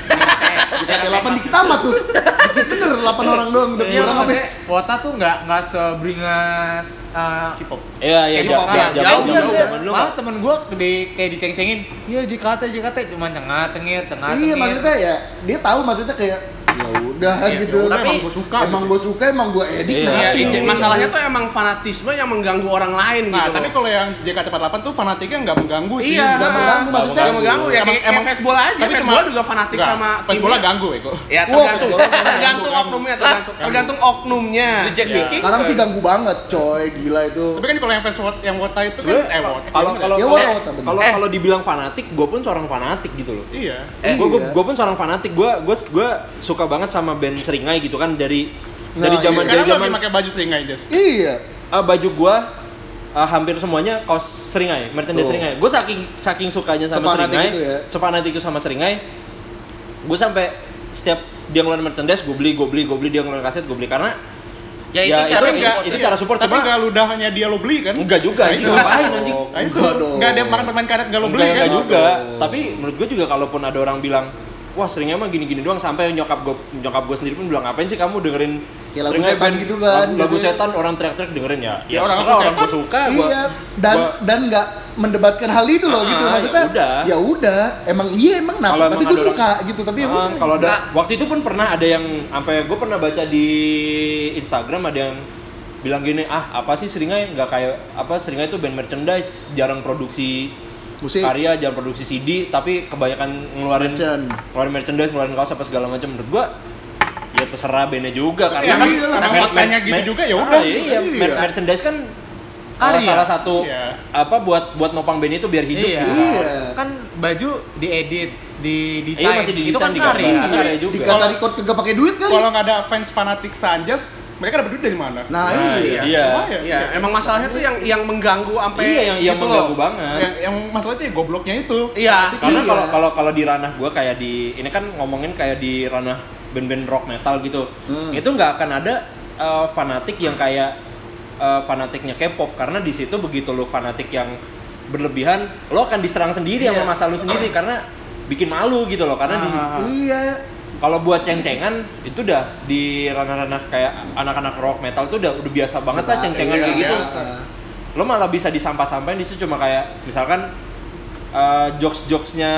S4: Ada delapan dikit amat tuh. Dikit bener, delapan orang doang. Udah
S1: Iya,
S4: kurang apa? ya?
S1: maksudnya Wota tuh nggak nggak seberingas eh,
S6: K-pop.
S2: Iya, iya,
S1: Kayak
S2: jauh,
S1: di
S2: jauh,
S1: Korea.
S2: jauh,
S1: Jauh,
S2: jauh,
S1: jauh.
S2: zaman dulu
S1: Malah
S2: nggak-
S1: temen gue gede kayak diceng-cengin, iya JKT, JKT, cuma cengar, cengir, cengar,
S4: Iya,
S1: cengir.
S4: maksudnya ya dia tahu maksudnya kayak ya udah
S1: Iya,
S4: gitu
S6: Tapi
S5: udah,
S3: Tapi-
S6: emang gue suka.
S4: emang gue suka emang gue edit
S2: Iya,
S4: nah,
S5: Iya,
S4: ya
S5: itu
S4: udah.
S5: masalahnya tuh emang fanatisme yang mengganggu orang lain
S6: Nah,
S5: gitu.
S6: tapi
S5: loh.
S6: kalau yang JK48 tuh fanatiknya nggak mengganggu sih.
S5: Iya.
S4: nggak mengganggu maksudnya
S5: Nggak mengganggu ya, kayak- kayak fans bola aja, fans bola juga fanatik sama
S6: fans
S5: timnya.
S6: bola ganggu ya kok.
S5: Ya
S4: Wah,
S5: tergantung,
S4: kalau- kalau-
S5: tergantung
S6: kalau-
S5: oknumnya, tergantung, tergantung oknumnya.
S3: Di Jack Vicky.
S4: sekarang sih ganggu banget coy gila itu
S6: Tapi kan kalau yang fans Wot- yang Wota itu kan eh
S2: Sebenarnya
S6: Wota.
S2: kalau kalau
S4: Ya,
S2: kalau
S4: warna otak, bener.
S2: kalau
S3: Eh.
S2: kalau dibilang fanatik, gue pun seorang fanatik gitu loh.
S6: iya.
S2: Eh, gue
S4: Iya.
S2: gue pun seorang fanatik. Gue gue gue suka banget sama band Seringai gitu kan dari
S4: Nah,
S2: dari
S4: iya.
S2: zaman dari
S6: Sekarang
S2: zaman
S6: lebih pakai baju seringai just.
S4: iya
S2: eh, baju gue hampir semuanya kaos Seringai, merchandise
S4: Tuh.
S2: Seringai. Gue saking saking sukanya sama
S4: Sefanatik
S2: Seringai,
S4: itu ya.
S2: sefanatik itu sama Seringai. Gue sampai setiap dia ngeluarin merchandise, gue beli, gue beli, gue beli dia ngeluarin kaset, gue beli karena
S3: Ya
S2: Ya, itu
S3: itu cara
S2: enggak-
S3: support
S2: itu
S3: ya.
S2: cara support,
S6: iya, tapi
S2: cuma-
S6: nggak ludahnya dia lo beli kan?
S2: enggak juga anjing ngapain anjing.
S4: Oh,
S6: Nah, itu
S4: enggak dong.
S6: nggak ada barang permain karet nggak lo beli
S2: Enggak,
S6: kan?
S2: enggak juga.
S4: Aduh.
S2: Tapi menurut gue juga kalaupun ada orang bilang, wah seringnya mah gini-gini doang sampai nyokap gue nyokap gue sendiri pun bilang ngapain sih kamu dengerin
S4: Ya, lagu
S2: Seringai
S4: setan
S2: band-
S4: gitu kan,
S2: lagu, lagu
S4: gitu.
S2: setan orang teriak-teriak dengerin ya ya,
S6: Ya, orang
S2: orang
S6: lagu
S2: orang gue
S6: setan.
S2: suka gue
S4: iya dan
S2: gua-
S4: dan nggak mendebatkan hal itu loh gitu
S2: Ah,
S4: maksudnya
S2: ya udah.
S4: ya udah emang iya emang
S2: Kalau
S4: kenapa tapi
S2: emang
S4: gue
S2: ada
S4: suka gitu tapi ya
S2: Ah,
S4: udah.
S2: kalau
S3: Nah.
S2: ada waktu itu pun pernah ada yang sampai gue pernah baca di Instagram ada yang bilang gini ah apa sih seringai nggak kayak apa seringai itu band merchandise jarang produksi
S4: Musik.
S2: karya jarang produksi CD tapi kebanyakan ngeluarin
S4: Merchant.
S2: ngeluarin merchandise ngeluarin kaos apa segala macam menurut gue ya terserah bandnya juga
S6: Ya,
S2: karena kan
S6: iya, karena
S2: mer-
S6: kotanya
S2: mer-
S6: gitu
S2: mer-
S6: juga ya
S2: ah,
S6: udah.
S2: iya, iya. Mer-
S4: Iya.
S2: merchandise kan uh,
S1: Karya.
S2: salah satu
S6: Iya.
S2: apa buat buat nopang band itu biar hidup
S1: Iya.
S2: gitu kan.
S4: iya
S1: Kan baju diedit, di
S2: Iya,
S1: desain,
S2: masih di
S1: itu kan
S2: digambar,
S1: karya.
S4: Nah, Iya.
S2: karya Iya, juga.
S4: dikata record kagak pakai duit kali
S6: Kalau nggak ada fans fanatik Sanjas, mereka dapat duit dari mana?
S4: nah,
S2: Nah,
S4: iya
S2: iya.
S6: Lumayan.
S5: Iya, emang masalahnya tuh yang yang mengganggu sampai
S2: Iya, yang yang
S5: gitu
S2: mengganggu
S5: loh.
S2: banget.
S6: Yang, yang masalahnya itu ya gobloknya itu.
S5: Iya.
S2: karena
S4: Iya.
S2: kalau kalau kalau di ranah gue kayak di ini kan ngomongin kayak di ranah band-band rock metal gitu
S4: Hmm.
S2: itu nggak akan ada uh, fanatik yang kayak uh, fanatiknya K-pop karena di situ begitu lo fanatik yang berlebihan lo akan diserang sendiri sama masa lo sendiri karena bikin malu gitu loh karena di
S4: iya
S2: kalau buat ceng-cengan itu udah di ranah-ranah kayak anak-anak rock metal tuh udah udah biasa banget lah ceng-cengan
S4: Iya,
S2: kayak gitu
S4: biasa.
S2: lo malah bisa disampah-sampahin di situ cuma kayak misalkan eh, jokes-jokesnya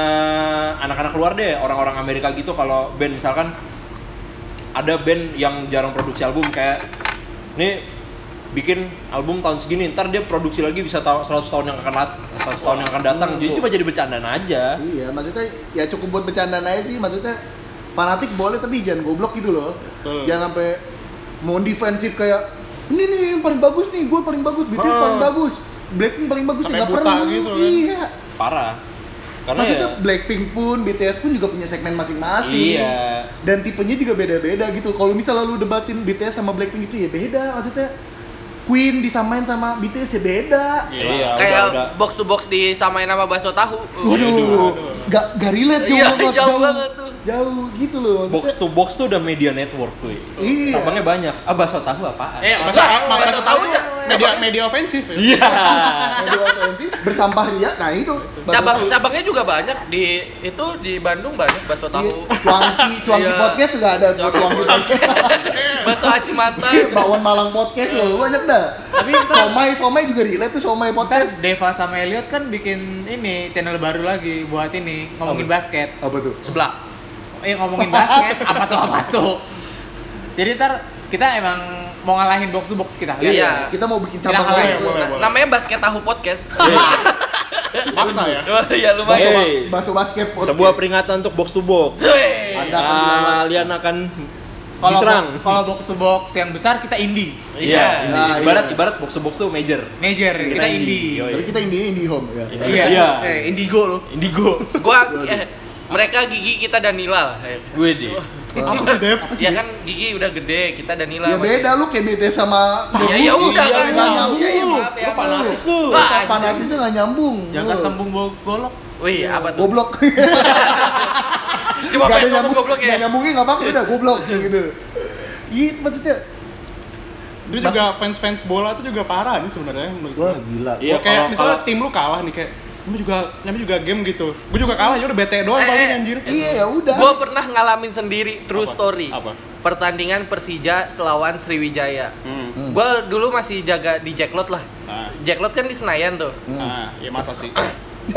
S2: anak-anak luar deh orang-orang Amerika gitu kalau band misalkan ada band yang jarang produksi album kayak nih bikin album tahun segini ntar dia produksi lagi bisa tahu 100 tahun yang akan dat- 100 tahun yang akan datang jadi cuma jadi bercandaan aja
S4: Iya, maksudnya ya cukup buat bercandaan aja sih, maksudnya fanatik boleh tapi jangan goblok gitu loh.
S6: Betul.
S4: Jangan sampai mau defensif kayak ini nih yang paling bagus nih, gue paling bagus, BTS
S2: Ah.
S4: paling bagus, Blackpink paling bagus, ya
S6: Sampai
S4: nggak
S6: buta
S4: perlu.
S6: gitu kan.
S4: Iya.
S2: parah karena
S4: maksudnya
S2: ya
S4: Blackpink pun, BTS pun juga punya segmen masing-masing.
S2: iya
S4: Dan tipenya juga beda-beda gitu. Kalau misalnya lu debatin BTS sama Blackpink itu ya beda, maksudnya Queen disamain sama BTS ya beda.
S2: iya udah udah
S3: Kayak box to box disamain sama bakso tahu.
S4: Iya. Waduh, gak, gak relate jauh
S3: Iya,
S4: banget,
S3: jauh banget tuh.
S4: jauh gitu loh.
S2: box
S4: maksudnya.
S2: to box tuh udah media network tuh
S4: Iya.
S2: cabangnya banyak ah bakso tahu apaan
S6: Eh,
S3: Lah,
S6: masa masa
S3: bakso tahu ca-
S6: media
S3: cabangnya-
S6: media ofensif ya.
S2: iya
S4: Yang di OCMT, bersampah ria, nah itu. Baru-
S3: Cabang cabangnya juga banyak di itu di Bandung banyak bakso
S4: Iya,
S3: tahu.
S4: cuangki, cuangki
S3: Iya.
S4: podcast juga ada buat cuangki podcast.
S3: bakso aci mata.
S4: Bakwan Malang podcast loh, banyak dah. Tapi somai, somai juga relate tuh somai
S1: Kan
S4: podcast.
S1: Deva sama Elliot kan bikin ini channel baru lagi buat ini ngomongin
S4: Apa?
S1: basket.
S4: Apa tuh?
S1: sebelah eh ngomongin basket apa tuh apa tuh jadi ntar kita emang mau ngalahin box to box kita kan?
S3: Iya.
S4: Kita mau bikin
S1: Kita
S4: cabang
S1: kalah
S4: lagi.
S1: ya,
S6: boleh, boleh.
S3: Namanya basket tahu podcast.
S6: Iya. Maksa ya.
S3: ya
S4: Bakso,
S3: lumayan.
S4: bas- bakso basket podcast.
S2: sebuah iya, peringatan untuk box to box Ah,
S3: Weh.
S4: Anda akan dilewat.
S2: kalian akan
S1: kalau
S2: diserang
S1: box, kalau box to box yang besar kita indie
S3: Iya.
S4: Nah, iya.
S2: ibarat ibarat box to box tuh major
S1: major
S2: Kita
S1: kita,
S2: indie,
S1: indie,
S2: yoi.
S4: Tapi kita indie indie home ya.
S1: Iya.
S2: iya
S5: Eh, indigo loh.
S2: indigo
S3: Gua eh, mereka gigi kita Danila lah. Eh,
S2: gue deh
S4: Apa sih Dev?
S3: Ya kan gigi udah gede, kita Danila.
S4: Ya
S3: masih-
S4: beda lu kayak BTS sama
S3: Ya
S4: Iya,
S3: ya udah kan.
S4: Nggak nyambung.
S3: Ya, ya, maaf ya.
S2: Lu fanatis lu.
S3: Lah, anjing.
S4: Fanatisnya nggak nyambung.
S1: jangan
S4: Lu.
S1: sembung bawa golok
S3: Wih, apa tuh?
S4: Goblok.
S3: Cuma pengen
S4: Nggak ada
S3: ngomong
S4: nyambung,
S3: goblok ya.
S4: nggak nyambungnya nggak pakai udah goblok kayak gitu. Gitu maksudnya.
S6: Itu juga fans-fans bola itu juga parah nih sebenarnya menurut gua.
S4: Wah gila.
S2: Iya,
S6: kayak
S2: kalau-
S6: misalnya
S2: kalau-
S6: tim lu kalah nih kayak lu juga namanya juga game gitu. Gua juga kalah ya udah bete doang
S3: Eh,
S6: paling
S3: eh,
S6: anjir.
S4: Iya ya udah.
S3: Gue pernah ngalamin sendiri true
S6: Apa?
S3: story.
S6: Apa?
S3: Pertandingan Persija lawan Sriwijaya.
S6: Hmm.
S4: Hmm.
S3: Gue dulu masih jaga di Jacklot lah.
S6: Ah.
S3: Jacklot kan di Senayan tuh.
S6: Ah, ya masa sih.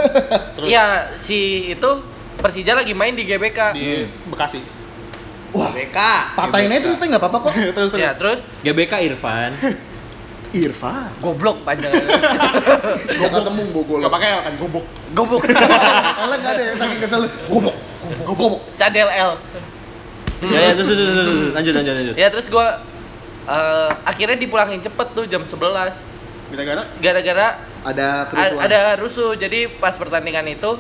S6: Terus
S3: Iya, si itu Persija lagi main di GBK.
S6: di Bekasi.
S4: Wah,
S5: BK.
S4: patahin aja terus, Peng, nggak apa-apa kok.
S6: terus terus.
S3: Ya, terus
S2: GBK Irfan.
S4: Irfan.
S3: goblok panjang.
S4: Jangan sembung bogol.
S6: Gak pakai L kan gubuk.
S3: Goblok.
S4: Kalau nggak ada yang saking kesel, gobok, gobok, gobok.
S3: Cadel L.
S2: ya, ya, terus, terus, terus, terus, terus. lanjut, lanjut, lanjut.
S3: Ya terus gua eh, akhirnya dipulangin cepet tuh jam 11
S6: Bintang gara
S3: gara-gara
S4: Ada
S3: A-
S4: kerusuhan.
S3: ada rusuh jadi pas pertandingan itu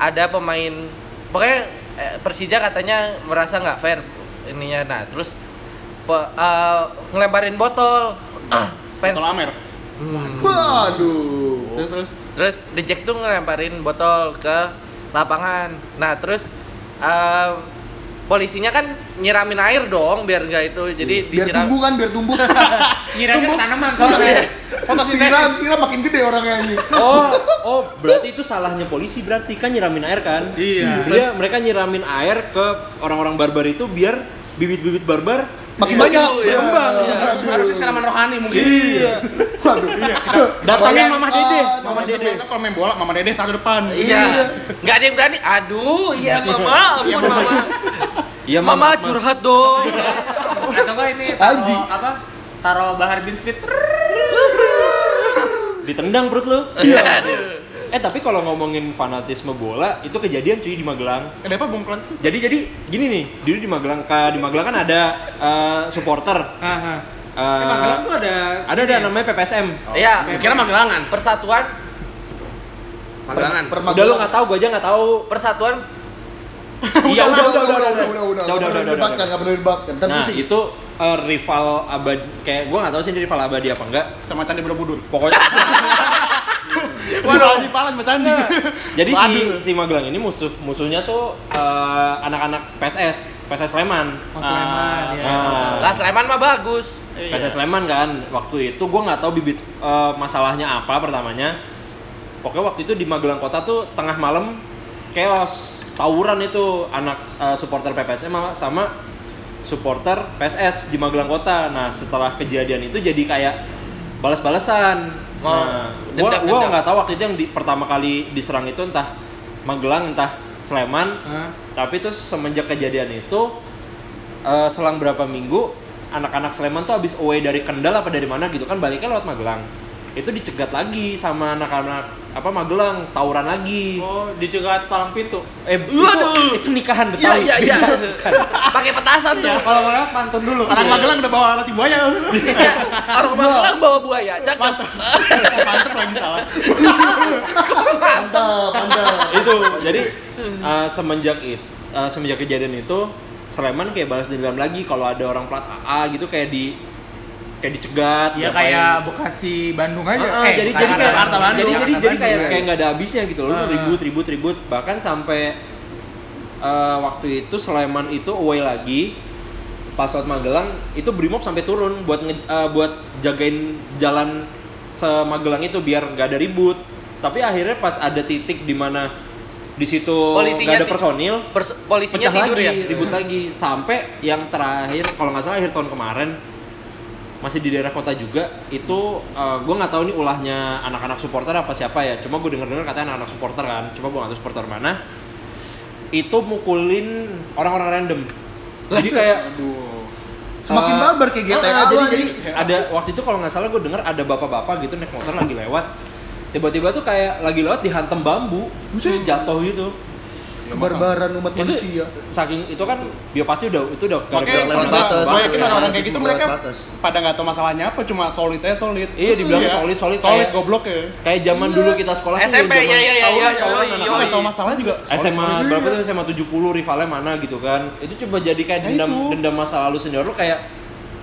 S3: ada pemain pokoknya eh, Persija katanya merasa nggak fair ininya nah terus pe- eh, ngelemparin botol fans
S6: Tol Amer.
S4: Waduh.
S6: Terus terus.
S3: terus The Jack tuh ngelemparin botol ke lapangan nah terus eh, polisinya kan nyiramin air dong Iya, biar nggak itu jadi
S4: Biar
S3: disiram
S4: tumbuh kan, biar tumbuh. Iya.
S5: Nyiramnya tanaman
S4: Siram, siram makin gede orangnya ini.
S2: Oh, oh, berarti itu salahnya polisi berarti kan nyiramin air kan? Iya. Dia mereka nyiramin air ke orang-orang barbar itu biar bibit-bibit barbar
S4: Makin banyak.
S2: ya, berkembang.
S4: Iya, aduh.
S5: Harusnya siraman rohani mungkin.
S4: Waduh. Iya.
S2: Datangin Mama Dede.
S4: Mama
S6: Terus besok kalau main bola Mama Dede taruh depan.
S3: Iya. Nggak ada yang berani. Aduh, iya mama, ampun mama.
S2: Iya,
S3: Mama curhat dong.
S1: atau enggak ini
S4: Anjing.
S1: taruh apa taruh Bahar bin Smith
S2: ditendang perut lu.
S3: Aduh.
S2: Eh, tapi kalau ngomongin fanatisme bola, itu kejadian cuy di Magelang.
S6: Kenapa Eh, Bung Klan?
S2: Jadi jadi gini nih, dulu di Magelang ka- di Magelang kan ada eh, supporter.
S1: Heeh.
S2: Eh,
S1: Magelang tuh ada
S2: ada ada ya? namanya PPSM.
S3: Iya,
S5: Kira magelangan.
S3: persatuan
S5: Magelangan.
S2: Udah lu nggak tahu, gua aja nggak tahu.
S3: persatuan
S2: Iya, udah udah udah udah
S4: udah, udah, udah, udah, udah,
S2: udah,
S4: debatkan, nggak perlu debatkan. Ntar
S2: Nah,
S4: pusing.
S2: itu eh, rival abadi kayak gua nggak tahu sih ini rival abadi apa enggak.
S6: Sama Candi Borobudur.
S2: Pokoknya
S6: Waduh, Haji Palan sama Candi.
S2: jadi si
S6: Waduh.
S2: si Magelang ini musuh musuhnya tuh eh, anak-anak PSS, PSS Sleman.
S1: Oh, Sleman, ya.
S2: Nah,
S3: lah Sleman mah bagus.
S2: PSS Sleman kan waktu itu gue nggak tahu bibit eh, masalahnya apa pertamanya pokoknya waktu itu di Magelang Kota tuh tengah malam chaos tawuran itu anak eh, supporter PPSM sama- sama supporter PSS di Magelang Kota nah setelah kejadian itu jadi kayak balas-balesan
S3: Oh,
S2: nah gua
S3: dendam-dendam.
S2: gua nggak tahu waktu itu yang di, pertama kali diserang itu entah Magelang entah Sleman tapi terus semenjak kejadian itu eh, selang berapa minggu anak-anak Sleman tuh habis away dari Kendal apa dari mana gitu kan baliknya lewat Magelang. Itu dicegat lagi sama anak-anak apa Magelang, tawuran lagi.
S1: oh dicegat palang pintu
S2: Eh itu,
S3: Waduh.
S2: itu nikahan
S3: Iya,
S2: Betawi.
S3: iya, iya. Pakai petasan tuh.
S5: Iya.
S1: kalau mau lewat pantun dulu
S6: Orang Magelang udah bawa alat buaya.
S3: Iya, Orang Magelang bawa buaya. Cakep.
S6: Mantep lagi salah.
S4: Mantap, mantap.
S2: itu. Jadi eh, semenjak itu semenjak kejadian itu Sleman kayak balas dendam lagi kalau ada orang plat AA gitu kayak di kayak dicegat
S5: Iya,
S3: Iya,
S1: ya
S2: diapain.
S1: kayak Bekasi Bandung aja
S2: Ah, jadi
S1: bukan
S2: jadi kayak
S1: Jakarta, Bandung.
S2: jadi jadi
S1: Jakarta,
S2: jadi kayak
S1: Bandung.
S2: kayak nggak ada habisnya gitu loh
S1: Ah.
S2: ribut ribut ribut bahkan sampai eh, waktu itu Sleman itu away lagi pas lewat Magelang itu Brimob sampai turun buat nge- eh, buat jagain jalan semagelang itu biar nggak ada ribut tapi akhirnya pas ada titik di mana di situ
S3: Polisinya
S2: nggak ada
S3: ti-
S2: personil
S3: Pers- polisinya
S2: pecah
S3: tidur
S2: lagi,
S3: ya.
S2: ribut lagi sampai yang terakhir kalau nggak salah akhir tahun kemarin masih di daerah kota juga itu gue nggak tahu nih ulahnya anak-anak supporter apa siapa ya cuma gue denger-denger katanya anak-anak supporter kan cuma gue nggak tahu supporter mana itu mukulin orang-orang random jadi kayak
S4: Semakin
S2: eh,
S4: barbar kayak
S2: ah,
S4: GTA
S2: ah, jadi,
S4: awal
S2: jadi
S4: nih.
S2: ada waktu itu kalau nggak salah gue denger ada bapak-bapak gitu naik motor lagi lewat tiba-tiba tuh kayak lagi lewat dihantam bambu terus jatuh gitu
S4: Kebarbaran umat
S2: itu
S4: manusia.
S2: saking itu kan dia pasti udah itu udah
S4: lewat
S6: Makanya lewat
S2: fanatisme.
S4: batas,
S6: Gue yakin
S4: lewat
S6: orang-orang kayak
S4: batas,
S6: gitu
S4: lewat
S6: mereka
S4: batas.
S6: pada nggak tahu masalahnya apa, cuma solid aja solid.
S2: Iya, dibilangnya solid, solid,
S6: Solid
S2: kayak-
S6: goblok ya.
S2: kayak zaman dulu kita sekolah tuh
S6: iya,
S3: SMP,
S2: zaman
S3: ya, ya, ya,
S2: tawuran,
S3: ya,
S2: tawuran,
S3: ya,
S2: anak-anak.
S3: ya,
S6: Nggak tahu
S3: Iya.
S6: masalah juga.
S2: SMA berapa tuh SMA 70 rivalnya mana gitu kan itu coba jadi kayak
S6: Nah,
S2: dendam
S6: itu.
S2: dendam masa lalu senior lu kayak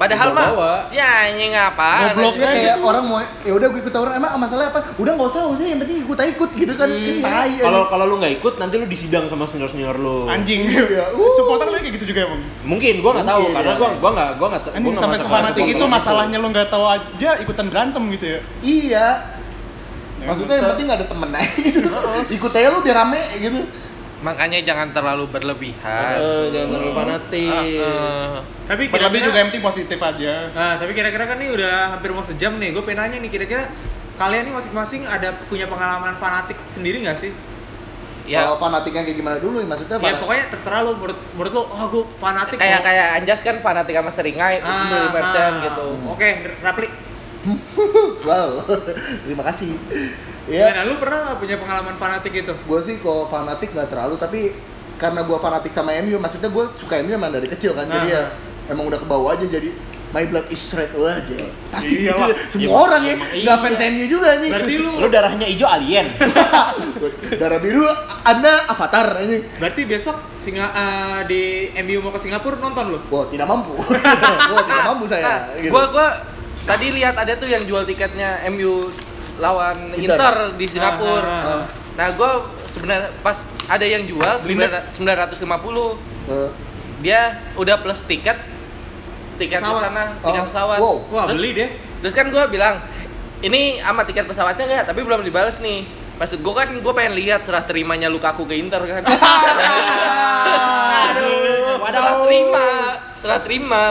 S3: Padahal mah
S2: Dibawa.
S3: ya anjing apa?
S6: Goblok.
S4: Iya kayak orang mau ya udah gue ikut tawuran emang masalah apa? Udah enggak usah, usah yang penting ikut aja ikut gitu kan. Ini
S1: Iya,
S4: tai. aja.
S2: kalau kalau lu nggak ikut nanti lu disidang sama senior senior lu
S6: Anjing.
S4: Iya, uh.
S6: Supporter lu kayak gitu juga emang.
S2: mungkin gua nggak tahu
S4: Mungkin,
S1: iya.
S2: karena
S4: ya.
S2: gua gua nggak gua nggak gua
S6: Anjing
S2: nggak
S6: sampai
S2: masuk kelas
S6: sefanatik
S2: supporter
S6: itu masalahnya lu nggak tahu aja ikutan berantem gitu ya.
S4: Iya. Maksudnya yang penting ada temen aja gitu. Ikut aja lu biar rame gitu.
S3: Makanya jangan terlalu berlebihan. Eh,
S2: Eh, jangan terlalu fanatik
S1: Ah,
S3: Heeh.
S4: Iya,
S1: tapi
S6: Tapi
S1: kira-kira
S6: juga yang penting positif aja.
S1: nah tapi kira-kira kan ini udah hampir mau sejam nih gue pengen nanya nih kira-kira kalian nih masing-masing ada punya pengalaman fanatik sendiri nggak sih
S3: Ya.
S4: Kalau fanatiknya kayak gimana dulu nih maksudnya?
S1: ya
S4: fanat-
S1: pokoknya terserah lo menurut menurut lo oh gue fanatik
S3: kayak
S1: mau-
S3: kayak Anjas kan fanatik sama Seringai
S1: Ah,
S3: beli merchant
S1: ah.
S3: gitu
S1: oke Rapli
S4: Wow, terima kasih.
S1: Iya.
S4: Iya,
S1: Nah, lu pernah nggak punya pengalaman fanatik gitu? itu?
S4: gue sih kok fanatik nggak terlalu, tapi karena gue fanatik sama MU, maksudnya gue suka MU emang dari kecil kan, jadi
S1: Ah.
S4: ya
S6: Nah.
S4: emang udah ke bawah aja jadi my blood is red wah aja.
S6: Iya,
S4: Pasti
S6: Iyalah.
S4: gitu. semua orang ya, nggak fans MU juga nih.
S6: Iya. Berarti lu
S7: Lu darahnya hijau alien.
S4: Darah biru, anda avatar ini.
S1: Berarti besok singa eh, di MU mau ke Singapura nonton lu.
S4: Wah tidak mampu, wah tidak mampu saya.
S3: Nah,
S4: Gitu.
S3: Gua gua tadi lihat ada tuh yang jual tiketnya MU lawan
S4: Inter.
S3: Inter, di Singapura.
S1: Ah, ah, ah.
S3: Nah, gua sebenarnya pas ada yang jual
S1: Beli net.
S3: 900 950.
S4: Eh,
S3: Dia udah plus tiket tiket
S1: Pesawat.
S3: ke sana,
S4: Oh,
S3: tiket pesawat.
S4: wow.
S1: Wah,
S3: terus,
S1: beli deh.
S3: Terus kan gua bilang, "Ini sama tiket pesawatnya enggak, tapi belum dibales nih." Maksud gua kan gua pengen lihat serah terimanya Lukaku ke Inter kan. Aduh, serah terima, serah terima,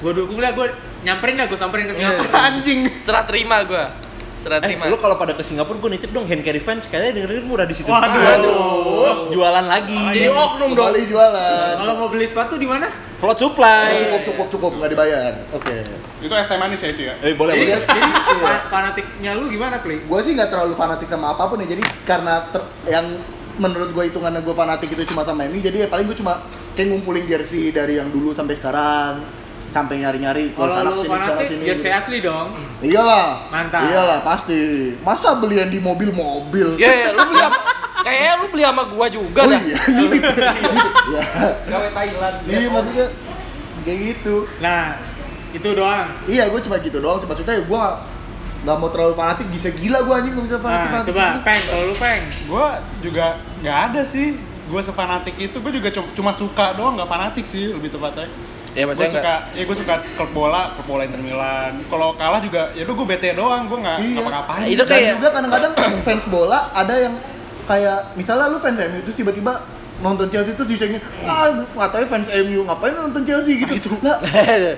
S1: Gua dukung lah, gua nyamperin dah, gua samperin ke Singapura.
S6: anjing.
S3: serah terima gua. Serah
S7: Eh,
S3: terima.
S7: lu kalau pada ke Singapura gue nitip dong hand carry fans kayaknya dengerin murah di situ.
S6: Waduh.
S7: Jualan lagi.
S4: Oh, iya.
S6: Jadi oknum dong.
S4: Kembali jualan.
S1: Kalau mau beli sepatu di mana?
S7: Float supply.
S4: Cukup, cukup, cukup, nggak dibayar. Oke.
S6: Itu es teh manis ya itu ya.
S7: Eh, boleh,
S1: Jadi,
S7: boleh.
S1: jadi
S4: Iya.
S1: fa- fanatiknya lu gimana, Pli?
S4: gue sih nggak terlalu fanatik sama apapun ya jadi karena ter- yang menurut gue hitungannya gue fanatik itu cuma sama MU jadi ya paling gue cuma kayak ngumpulin jersey dari yang dulu sampai sekarang sampai nyari-nyari kalau
S1: Kalau
S4: sana
S1: lu
S4: sini sana
S1: fanatik,
S4: sini gitu.
S1: jersey asli dong.
S4: iyalah
S1: Mantap.
S4: iyalah pasti masa belian di mobil-mobil
S3: Ya, ya, lu beli apa? Kayaknya lu beli sama gua juga
S4: oh
S3: dah.
S4: iya nitip nitip ya
S3: Gawe Thailand.
S4: iya maksudnya kayak gitu
S1: Nah, itu doang.
S4: iya gue cuma gitu doang sih maksudnya ya gue nggak mau terlalu fanatik bisa gila gue anjing nggak bisa fanatik,
S1: Nah,
S4: fanatik
S1: coba peng kalau lu peng.
S6: Gua juga nggak ada sih. Gua sefanatik itu, gua juga cum- cuma suka doang, nggak fanatik sih lebih tepatnya.
S3: Ya,
S6: Gue
S3: maksudnya enggak.
S6: suka, ya gue suka klub bola, klub bola Inter Milan. Kalau kalah juga, ya udah gue bete doang, gue nggak
S4: Iya.
S6: ngapa-ngapain.
S3: Itu
S4: Dan
S3: kayak
S4: juga kadang-kadang fans bola ada yang kayak misalnya lu fans MU terus tiba-tiba nonton Chelsea terus dicengin ah ngatain fans MU ngapain lu nonton Chelsea gitu lah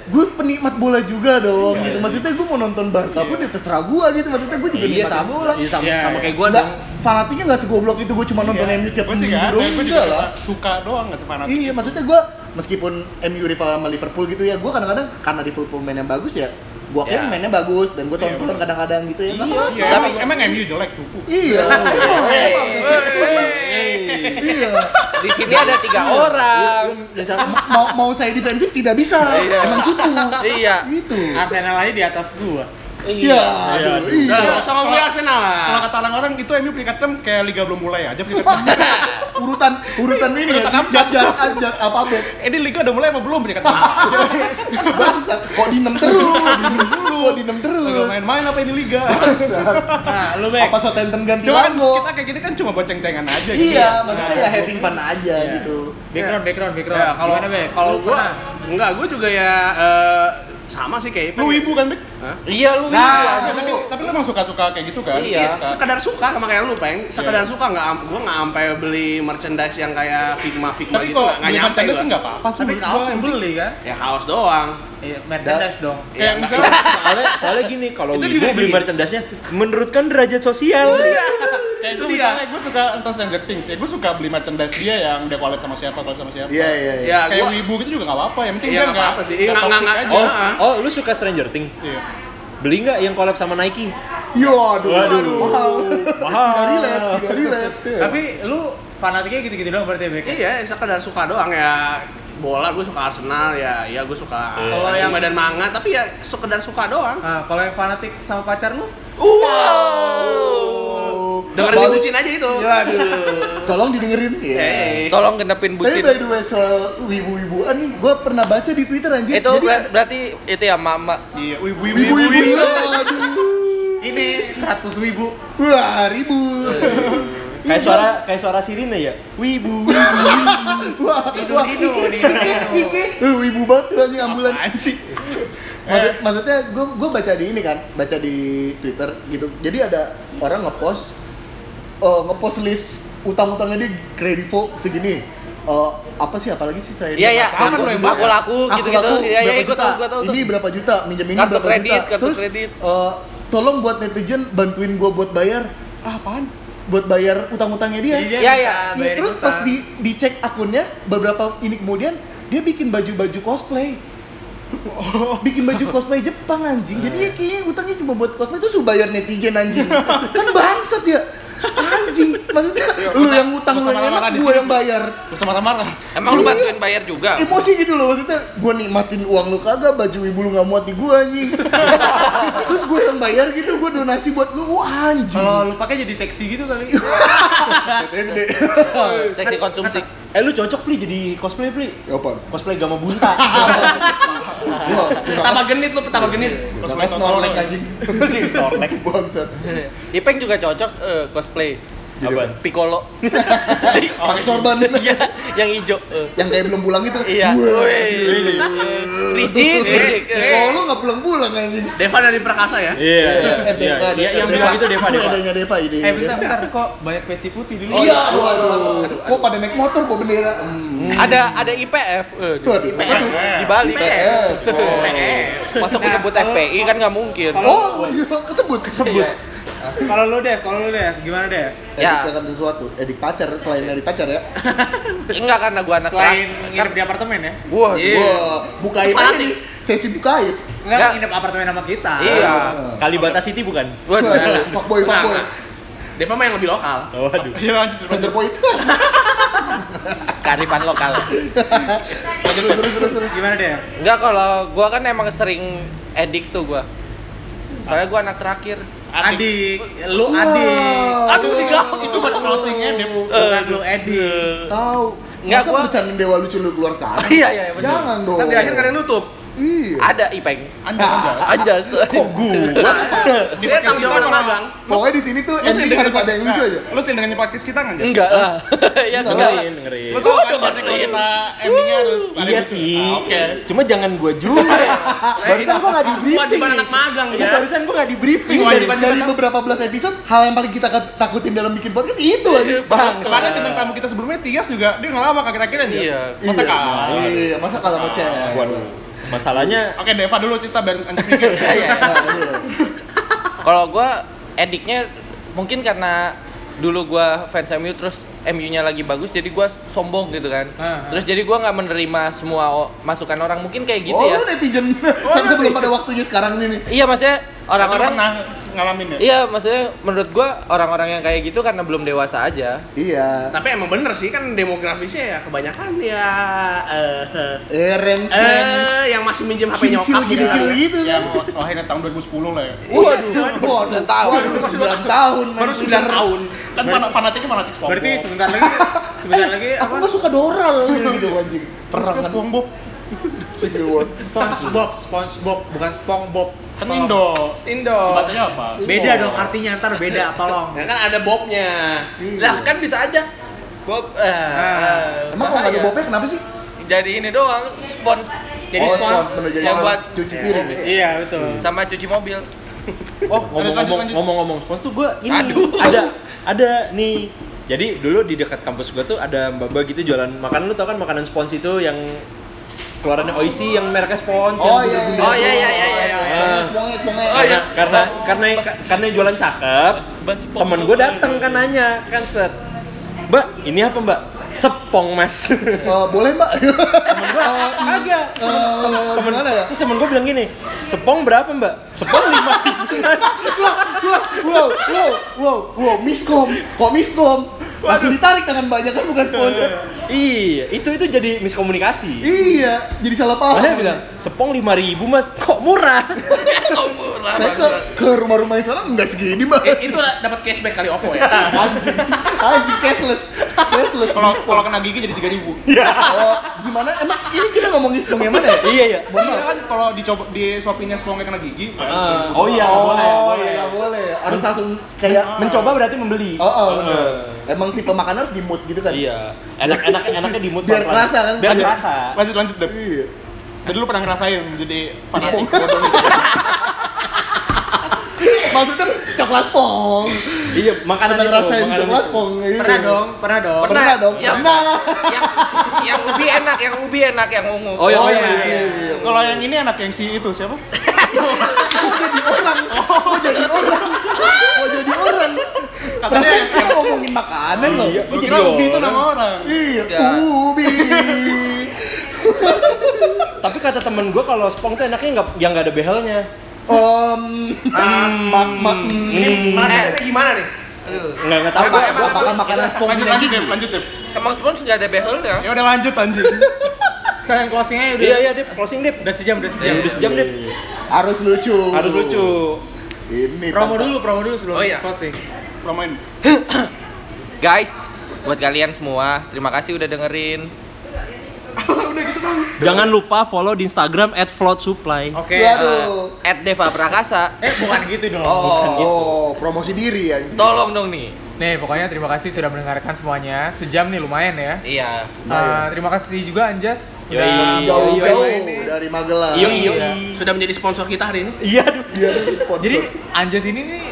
S4: gue penikmat bola juga dong gitu maksudnya gue mau nonton Barca pun ya terserah gue gitu maksudnya gue juga
S7: Iya
S4: nikmatin
S7: sama, iya sama,
S1: Iya,
S7: sama
S1: iya.
S7: kayak gue
S4: nggak
S7: dong.
S4: fanatiknya nggak segoblok itu gue cuma nonton MU tiap
S6: Gua sih
S4: minggu
S6: nggak ada,
S4: doang
S6: gue juga
S4: enggak lah
S6: cuma suka doang nggak sefanatik.
S4: Iya, maksudnya gue meskipun MU rival sama Liverpool gitu ya, gue kadang-kadang karena Liverpool mainnya bagus ya, gue
S3: Ya.
S4: akuin mainnya bagus dan gue
S6: Iya,
S4: tonton
S6: bener.
S4: kadang-kadang gitu ya. nggak apa-apa.
S6: Iya,
S3: Tapi-
S6: emang, emang MU jelek cukup.
S3: Hey.
S4: Iya. Emang, bukan Chelsea, Bang. Iya.
S3: di sini ada tiga orang.
S4: Mau mau saya defensif tidak bisa. Emang cukup.
S3: Iya.
S4: Gitu.
S1: Arsenal aja di atas gua.
S4: Iya, aduh, iya.
S5: Nggak usah ngomongin
S4: Ah.
S5: Arsenal lah.
S6: Kalau kata orang-orang itu MU peringkat 6 kayak liga belum mulai aja peringkat 6.
S4: Urutan urutan ini ya, jajar ajar apa bet.
S6: Eh, ini liga udah mulai apa belum ya, peringkat 6?
S4: Bangsat, kok di 6 terus? Kok di 6 terus?
S6: Udah main-main apa ini liga?
S4: Bangsat.
S1: Nah, lu
S4: Apa
S1: Bang.
S4: Southampton ganti
S6: Cuman kita
S4: Lango?
S6: kayak gini kan cuma buat ceng-cengan aja gitu.
S4: Iya, maksudnya
S1: Nah,
S4: ya having fun aja
S1: Iya.
S4: gitu.
S1: Background, background, background.
S5: Ya, kalau
S1: Gimana, Be?
S5: kalau
S1: Lu
S5: gua
S1: pernah?
S5: enggak, gua juga ya eh, sama sih kayak Ipang
S6: Lu
S5: ya.
S6: ibu kan, Bek?
S3: Iya lu.
S4: Nah,
S6: Tapi, tapi lu emang suka-suka kayak gitu kan?
S5: Iya,
S6: Suka.
S5: sekedar suka sama kayak lu, Peng.
S6: Iya.
S5: Sekedar suka nggak am- gua nggak sampai beli merchandise yang kayak Figma Figma
S6: Tapi
S5: gitu
S6: kalau
S5: nggak nggak
S6: beli
S5: nyampe
S6: merchandise
S5: gua.
S6: sih nggak apa-apa sih.
S1: Tapi
S6: menurut
S1: kaos
S6: gua.
S1: lu beli kan?
S5: Ya kaos doang.
S1: Iya, merchandise dong.
S5: Ya,
S6: Kayak
S5: nggak-
S6: misalnya
S7: soalnya, soalnya gini kalau
S5: Itu
S7: ibu beli
S5: dibeli.
S7: merchandise-nya menurutkan derajat sosial
S5: Iya.
S6: Iya. kayak itu
S5: dia.
S6: misalnya gue suka tentang Stranger Things ya gue suka beli merchandise dia yang dia collab sama siapa collab sama siapa
S4: Iya, iya, iya.
S5: Ya
S6: kayak
S5: gua
S6: wibu gitu juga nggak apa-apa yang penting
S5: Iya,
S6: dia
S5: nggak
S6: nggak
S5: apa-apa sih. Iya,
S6: nggak
S5: nggak-
S6: toxic
S5: nggak-
S6: aja.
S7: oh
S5: Iya.
S7: oh lu suka Stranger Things
S6: Iya.
S7: beli nggak yang collab sama Nike
S4: Yo, Iya, aduh.
S7: Waduh.
S4: Mahal.
S7: Mahal.
S4: Tidak relate, tidak relate.
S1: Tapi lu fanatiknya gitu-gitu doang berarti, Bek? ya?
S5: Iya, sekedar suka doang ya. Bola gue suka Arsenal ya, ya gue suka
S7: Iya.
S1: Kalau
S5: kalau yang
S1: yang-
S5: badan manga tapi ya sekedar suka doang.
S1: Ah, kalau yang fanatik sama pacar lu?
S4: Oh.
S5: Dengerin
S4: Balik-
S5: di bucin aja itu.
S4: Ya, aduh. Tolong didengerin. Iya.
S5: Hey.
S3: Tolong genepin
S4: Tapi
S3: bucin.
S4: by the way soal wibu-wibuan nih, gue pernah baca di Twitter anjir.
S3: Itu
S4: Jadi-
S3: ber- berarti itu ya mama.
S6: iya wibu wibu
S4: wibu-wibu. aduh.
S1: Ini 100 wibu.
S4: Wah, ribu.
S7: kayak suara kayak suara sirine ya wibu wibu
S4: Wah,
S1: Nidu,
S4: wah,
S1: nidu, nidu,
S4: iki, iki,
S1: nidu.
S4: iki. Eh, wibu banget tuh anjing ambulan.
S6: apaan sih
S4: Maksud-
S3: Eh.
S4: maksudnya gue gue baca di ini kan, baca di Twitter gitu. Jadi ada orang ngepost eh, ngepost list utang-utangnya dia kredivo segini. Eh, apa sih apalagi sih saya?
S3: Iya, iya,
S4: Apa
S3: aku-
S4: kan lo yang baca?
S3: aku laku,
S4: Aku
S3: gitu-gitu.
S4: laku,
S3: Iya, iya,
S4: berapa
S3: gua tahu,
S4: juta?
S3: gua tahu tuh.
S4: Ini berapa juta? Minjem ini
S3: Kartu
S4: berapa
S3: kredit,
S4: juta?
S3: kartu
S4: Terus
S3: kredit.
S4: eh, tolong buat netizen bantuin gue buat bayar.
S6: ah, apaan
S4: buat bayar utang-utangnya dia.
S1: Jadi dia
S3: Iya,
S1: minta
S3: iya.
S4: Iya,
S1: bayar
S4: terus
S1: utang.
S4: pas di dicek akunnya beberapa ini kemudian dia bikin baju-baju cosplay.
S1: Oh.
S4: Bikin baju cosplay Jepang anjing. Jadi dia kayaknya utangnya cuma buat cosplay itu suruh bayar netizen anjing. kan bangsat ya. Anjing, maksudnya
S1: Iya,
S4: lu yang utang lu
S6: sama-sama
S4: yang
S6: makan
S4: enak,
S6: di
S4: gua
S6: sini.
S4: yang bayar.
S6: Terus marah-marah.
S3: Emang lu bantuin bayar juga?
S4: Emosi gitu loh maksudnya gua nikmatin uang lu kagak, baju ibu lu nggak muat di gua anjing. terus gua yang bayar gitu, gua donasi buat lu Wah, anjing.
S1: Kalau lu pakai jadi seksi gitu kali.
S4: Katanya gede. Nah,
S3: Seksi konsumsi.
S2: Eh lu cocok pli jadi cosplay pli.
S4: Apa?
S2: Cosplay Gama Bunta.
S4: Wah,
S5: Tambah genit lu, tambah
S4: Iya,
S5: genit.
S4: Cosplay snorlek anjing. Snorlek Iya, bangsat.
S3: Ipeng juga cocok eh, cosplay
S2: Apaan?
S3: Piccolo
S4: Pakai sorban.
S3: Iya, yang hijau. Eh,
S4: Yang kayak belum pulang gitu. itu.
S3: Iya. Wih. Rijik, rijik.
S4: Oh, lu enggak pulang-pulang anjing.
S5: Deva dari Prakasa ya?
S8: Iya.
S4: Eh,
S8: Iya,
S4: Deva,
S8: iya,
S4: Deva,
S8: yang bilang itu Deva,
S4: Itu
S8: Deva.
S4: adanya Deva ini.
S1: eh bentar bentar kok banyak peci putih dulu.
S3: Oh,
S4: Iya, waduh. Kok pada naik motor bawa bendera? Hmm.
S3: Ada ada IPF. Eh, di-
S4: Waduh. Iya.
S3: IPF di Bali. Masa aku nyebut FPI kan nggak mungkin.
S4: Oh, iya, kesebut. Kesebut.
S1: Kalau lu deh, kalau lu deh, gimana deh?
S3: Ya.
S4: Ya. Edik akan sesuatu. Edik pacar selain dari pacar ya.
S3: Enggak karena gua anak
S1: Selain
S3: laki-
S1: nginep di apartemen ya?
S3: Wah,
S4: Wah, bukain aja nih. Sesi bukain.
S1: Enggak
S3: Nggak.
S1: nginep apartemen sama kita.
S3: Iya.
S2: Kalibata City bukan?
S3: Gua
S4: Waduh, fuckboy, fuckboy.
S5: Deva mah yang lebih lokal.
S2: Oh, waduh.
S6: Iya lanjut.
S4: Center point.
S3: karifan lokal.
S4: Terus, terus, terus, terus.
S1: Gimana deh?
S3: Enggak kalau gua kan emang sering edik tuh gua. Soalnya gua anak terakhir.
S1: Adik, lu adik.
S4: Wow.
S5: Aduh, tiga. Itu kan closingnya Dev.
S1: Bukan lu adik.
S4: Tahu.
S3: Nggak,
S4: Masa
S3: gua-
S4: bercandain dewa lucu lu keluar sekarang?
S3: Iya, iya, betul.
S4: Jangan dong.
S5: Kan di akhir kadang nutup.
S4: Iya.
S3: Ada Ipeng.
S6: Anjir, anjir.
S3: Aja.
S4: Kok gua?
S5: Nah. Dia tanggung jawab sama Bang.
S4: Pokoknya di sini tuh
S6: Lu sering
S4: ending
S6: dengerin
S4: harus ada yang lucu
S6: podcast-
S4: aja.
S6: Nah, Lu sering dengerin podcast kita enggak?
S3: Enggak lah. ya enggak. lah.
S2: Dengerin, dengerin.
S6: Lu tau
S3: Gua
S6: kan biasanya kalau
S3: dengerin.
S6: kita endingnya harus ada
S2: Iya
S6: yang lucu.
S2: sih.
S6: Ah, Oke.
S2: Cuma jangan gua juga. barusan gua enggak di briefing.
S5: Kewajiban anak magang
S2: Iya,
S5: ya.
S2: barusan gua enggak di briefing.
S4: Dari,
S6: Kewajiban
S4: dari
S6: kita-
S4: beberapa belas episode, hal yang paling kita kat- takutin dalam bikin podcast itu aja.
S2: Bang,
S6: Kemarin kan bintang tamu kita sebelumnya Tias juga dia ngelawak akhir-akhirnya Tias.
S3: Iya.
S6: Masa
S4: Iya.
S6: kalah?
S4: Iya, masa kalah sama cewek?
S2: Waduh. Masalahnya
S6: Oke, Deva dulu cerita biar Anjis mikir.
S4: Nah, iya.
S3: Kalau gua ediknya mungkin karena dulu gua fans MU terus MU-nya lagi bagus jadi gua sombong gitu kan.
S1: Ah, ah.
S3: Terus jadi gua nggak menerima semua o- masukan orang. Mungkin kayak gitu
S4: oh,
S3: ya.
S4: lu netizen. Sampai belum pada waktunya sekarang ini nih.
S3: Iya, maksudnya orang-orang
S6: pernah ngalamin ya?
S3: Iya, maksudnya menurut gua orang-orang yang kayak gitu karena belum dewasa aja.
S4: Iya.
S5: Tapi emang bener sih kan demografisnya ya kebanyakan ya eh
S4: Eh, Remsen.
S5: eh yang masih minjem HP nyokap
S4: Kincil,
S5: gitu.
S4: kincil gitu.
S6: Ya, mau- lahirnya tahun 2010 lah ya.
S4: Waduh,
S3: baru sembilan tahun.
S4: Waduh, sembilan tahun.
S5: Baru
S4: man.
S5: 9 tahun.
S6: Kan fan- fanatiknya fanatik SpongeBob.
S1: Berarti sebentar lagi, sebentar lagi
S4: Eh, Aku
S1: apa?
S4: nggak suka Doral gitu anjing. Perang
S6: Kan
S4: kan.
S6: SpongeBob
S4: Civil War.
S1: SpongeBob, SpongeBob, bukan SpongeBob.
S6: kan Indo.
S5: Indo.
S6: Bacanya apa?
S1: Beda dong artinya ntar beda, tolong.
S5: Nah, kan ada bobnya.
S3: Lah kan bisa aja Bob eh, eh,
S4: Emang kalau nggak ada
S3: bahaya.
S4: bobnya kenapa sih?
S3: Jadi ini doang spon
S1: Jadi
S4: Oh,
S1: spons.
S4: bener, jadi
S3: yang
S4: harus
S3: buat-
S4: cuci piring. ya?
S1: Iya, betul.
S3: sama cuci mobil.
S2: oh
S6: lanjut,
S2: ngomong-ngomong
S6: lanjut.
S2: ngomong-ngomong spons tuh gua ini
S3: Aduh.
S2: ada ada nih. Jadi dulu di dekat kampus gua tuh ada mbak-mbak gitu jualan makanan lu tau kan makanan spons itu yang keluarannya Oishi yang mereknya spons
S4: Oh
S2: yang
S4: iya.
S2: bundar-bundar.
S3: Oh iya iya iya iya.
S4: Ah.
S3: iya.
S4: Spongnya, spongnya, spongnya.
S3: Oh, iya.
S2: karena karena karena karena yang jualan cakep temen gue dateng kan nanya kan set mbak ini apa mbak sepong mas temen
S4: Eh, boleh mbak?
S2: gue
S3: Oh, iya.
S2: agak
S4: Eh,
S2: temen
S4: gimana ya?
S2: terus temen gue bilang gini sepong berapa mbak sepong lima mas
S4: Wah, wah, wow, wow, wow, wow, miskom, kok miskom? Langsung ditarik tangan banyak kan bukan sponsor.
S2: iya itu itu jadi miskomunikasi
S4: Iya, jadi salah paham.
S2: Makanya bilang, sepong lima ribu mas, kok murah?
S3: Kau murah
S4: saya ke
S3: banget.
S4: ke rumah-rumah yang sana nggak segini mbak.
S5: Eh, itu lah dapat cashback kali OVO ya.
S4: Anjing, anjing cashless, cashless.
S6: Kalau kalau kena gigi jadi 3000.
S4: Oh, gimana? Emang ini kita ngomongin spong yang mana ya?
S2: iya iya.
S4: Mohon
S6: Iya
S4: maaf.
S6: kan kalau dicoba di suapinnya Spongnya kena gigi. kan?
S2: Ah, oh iya, nggak
S4: Oh,
S2: boleh. nggak
S4: iya
S2: boleh.
S4: nggak boleh. Harus langsung kayak
S2: Mencoba berarti membeli.
S4: Oh, oh bener. Emang tipe makanan harus dimut gitu kan?
S2: Iya. Enak enak enaknya di mood
S4: Biar
S2: pelan-pelan.
S4: kerasa kan?
S2: Biar
S4: Iya.
S2: kerasa.
S6: Lanjut lanjut deh.
S4: Iya.
S6: Tadi lu pernah ngerasain jadi fanatik.
S4: Maksudnya coklat pong.
S2: Iya, makanan
S4: Ada
S2: itu,
S4: rasain
S2: makanan
S4: coklat
S2: itu.
S4: pong. gitu.
S1: Pernah dong, pernah dong.
S4: Pernah, dong.
S3: Yang-
S4: Pernah lah.
S3: yang, yang ubi enak, yang ubi enak, yang ungu.
S2: Oh, iya,
S4: Oh,
S2: oh,
S4: iya,
S2: iya.
S4: iya, iya.
S6: Kalau yang ini anak yang si itu siapa?
S4: Mau jadi orang. Mau jadi orang. Mau jadi orang.
S6: katanya
S4: Perasaan kita ngomongin makanan loh.
S2: Iya,
S6: gue kira gitu ubi itu nama orang
S4: Iya,
S3: Ya.
S4: ubi.
S2: Tapi kata temen gue kalau spong tuh enaknya nggak yang nggak ada behelnya.
S4: Om, mak, mak,
S2: Hmm.
S3: Rasanya gimana nih? Aduh.
S2: Nggak nggak tahu
S4: Apa,
S2: gue.
S4: gua bakal makanan spong
S6: lanjut
S4: punya
S6: lanjut
S4: gigi.
S6: deh lanjut deh
S3: Emang spons nggak ada behelnya?
S6: ya udah lanjut lanjut
S1: Sekalian closingnya udah.
S2: Iya iya dip closing dip.
S1: Udah sejam, udah sejam.
S2: Udah sejam dip.
S4: Harus lucu.
S2: Harus lucu.
S4: Ini
S1: Promo
S4: tanpa-
S1: dulu, promo dulu sebelum
S3: Oh, iya.
S1: closing.
S6: promoin
S3: Guys, buat kalian semua, terima kasih udah dengerin.
S2: Jangan lupa follow di Instagram @floatsupply.
S1: Oke.
S4: Waduh.
S3: eh, At Deva Prakasa.
S1: Eh bukan gitu dong.
S4: Oh, promosi diri anjing.
S3: Tolong dong nih.
S1: Nih pokoknya terima kasih sudah mendengarkan semuanya. Sejam nih lumayan ya.
S3: Iya.
S1: Eh, terima kasih juga Anjas
S2: Yoi.
S1: mau
S4: Jauh-jauh
S1: main nih.
S4: dari Magelang.
S2: Iya iya.
S5: sudah menjadi sponsor kita hari ini
S2: Iya aduh.
S4: Dia tuh sponsor.
S1: Jadi Anjas ini nih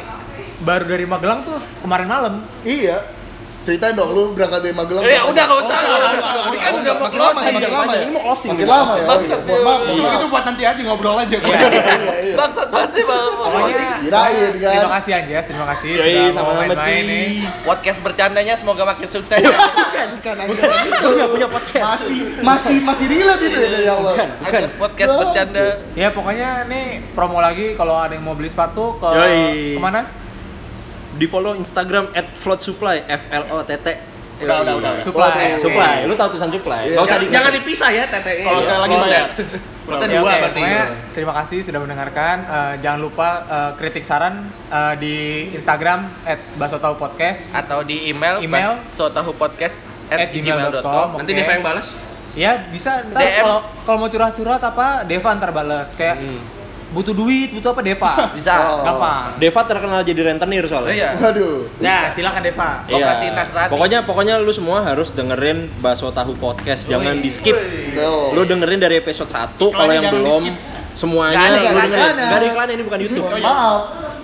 S1: baru dari Magelang tuh kemarin malam.
S4: iya. Ceritain dong lu berangkat dari Magelang.
S3: Eh, udah nggak usah. udah,
S4: Oh, udah,
S3: udah,
S4: udah,
S3: Ini kan
S4: udah,
S3: udah mau
S4: makin lama
S3: closing.
S4: ya, makin lama ya.
S2: Ini mau closing.
S4: Makin lama ya.
S3: Bangsat,
S4: Mohon maaf, mohon
S6: itu, itu
S4: maaf.
S6: buat nanti aja ngobrol aja
S4: Iya, iya.
S3: Bangsat banget nih Bang.
S1: Pokoknya
S4: Kirain kan.
S1: terima kasih Anjas, terima kasih
S2: Yoi
S1: sudah mau
S2: Iya, sama-sama
S1: main-main nih.
S2: Ci.
S3: Podcast bercandanya semoga makin sukses. ya.
S4: Bukan anjing. punya podcast. Masih masih masih relate itu ya dari awal.
S3: Agus podcast
S4: Bukan.
S3: bercanda.
S1: Ya pokoknya nih promo lagi kalau ada yang mau beli sepatu ke
S2: Yoi.
S1: kemana?
S2: Di follow Instagram @floatsupply. F L O T T.
S6: udah udah udah
S1: Supply.
S4: Oke.
S2: Supply. Lu tahu tulisan supply.
S4: Iya.
S2: Nggak usah
S5: jangan,
S2: di-
S5: jangan dipisah ya TTE
S6: kalau sekali lagi bayar
S5: berarti
S1: Ya,
S5: dua
S1: oke,
S5: berarti
S1: pokoknya terima kasih sudah mendengarkan. Eh, jangan lupa eh, kritik saran eh, di Instagram @basotau_podcast.
S3: Atau di email,
S1: Email.
S3: sotahupodcast
S1: At gmail.com.
S5: nanti
S1: Oke.
S5: Deva yang balas
S1: Ya bisa ntar
S3: DM.
S1: kalau kalau mau curhat-curhat apa Deva ntar balas kayak
S2: Hmm.
S1: butuh duit butuh apa Deva
S3: Bisa.
S4: Oh.
S1: gampang.
S2: Deva terkenal jadi rentenir soalnya. Iya.
S3: Iya.
S4: Waduh.
S1: Ya silakan Deva.
S3: Koperasi Nasrani.
S2: Pokoknya pokoknya lu semua harus dengerin Bakso Tahu Podcast, jangan
S3: Wih.
S2: di skip.
S4: No.
S2: Lu dengerin dari episode 1 kalau yang
S6: jangan
S2: belum
S6: di-skip.
S2: semuanya
S3: Nggak ada
S2: lu
S3: iklan,
S2: dengerin.
S4: nggak ada.
S2: Nggak ada iklan ini bukan YouTube.
S4: Mohon maaf.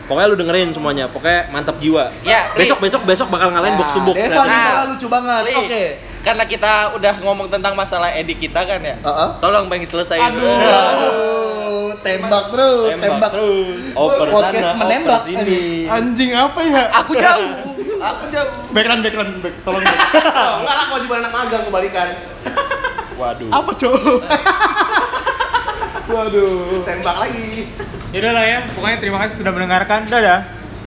S2: Pokoknya lu dengerin semuanya, pokoknya mantap jiwa.
S3: Ya, Ri.
S2: besok besok besok bakal ngalahin box Nah. to box.
S4: Nah, Deva
S2: nanti.
S4: Deva lucu banget.
S3: Li,
S4: Oke.
S3: Karena kita udah ngomong tentang masalah edik kita kan ya.
S4: Heeh.
S3: Tolong Bang selesai dulu.
S4: Waduh, tembak terus, tembak.
S2: terus. Oper
S4: Podcast
S2: sana,
S4: menembak
S2: oper sini.
S4: ini.
S6: anjing apa ya
S3: Aku jauh. Aku jauh.
S6: background background back tolong back.
S5: Oh, enggak lah kewajiban anak magang kebalikan
S2: Waduh.
S6: apa cowok
S4: Waduh.
S5: tembak lagi
S1: Yaudah lah ya. Pokoknya terima kasih sudah mendengarkan. Dadah.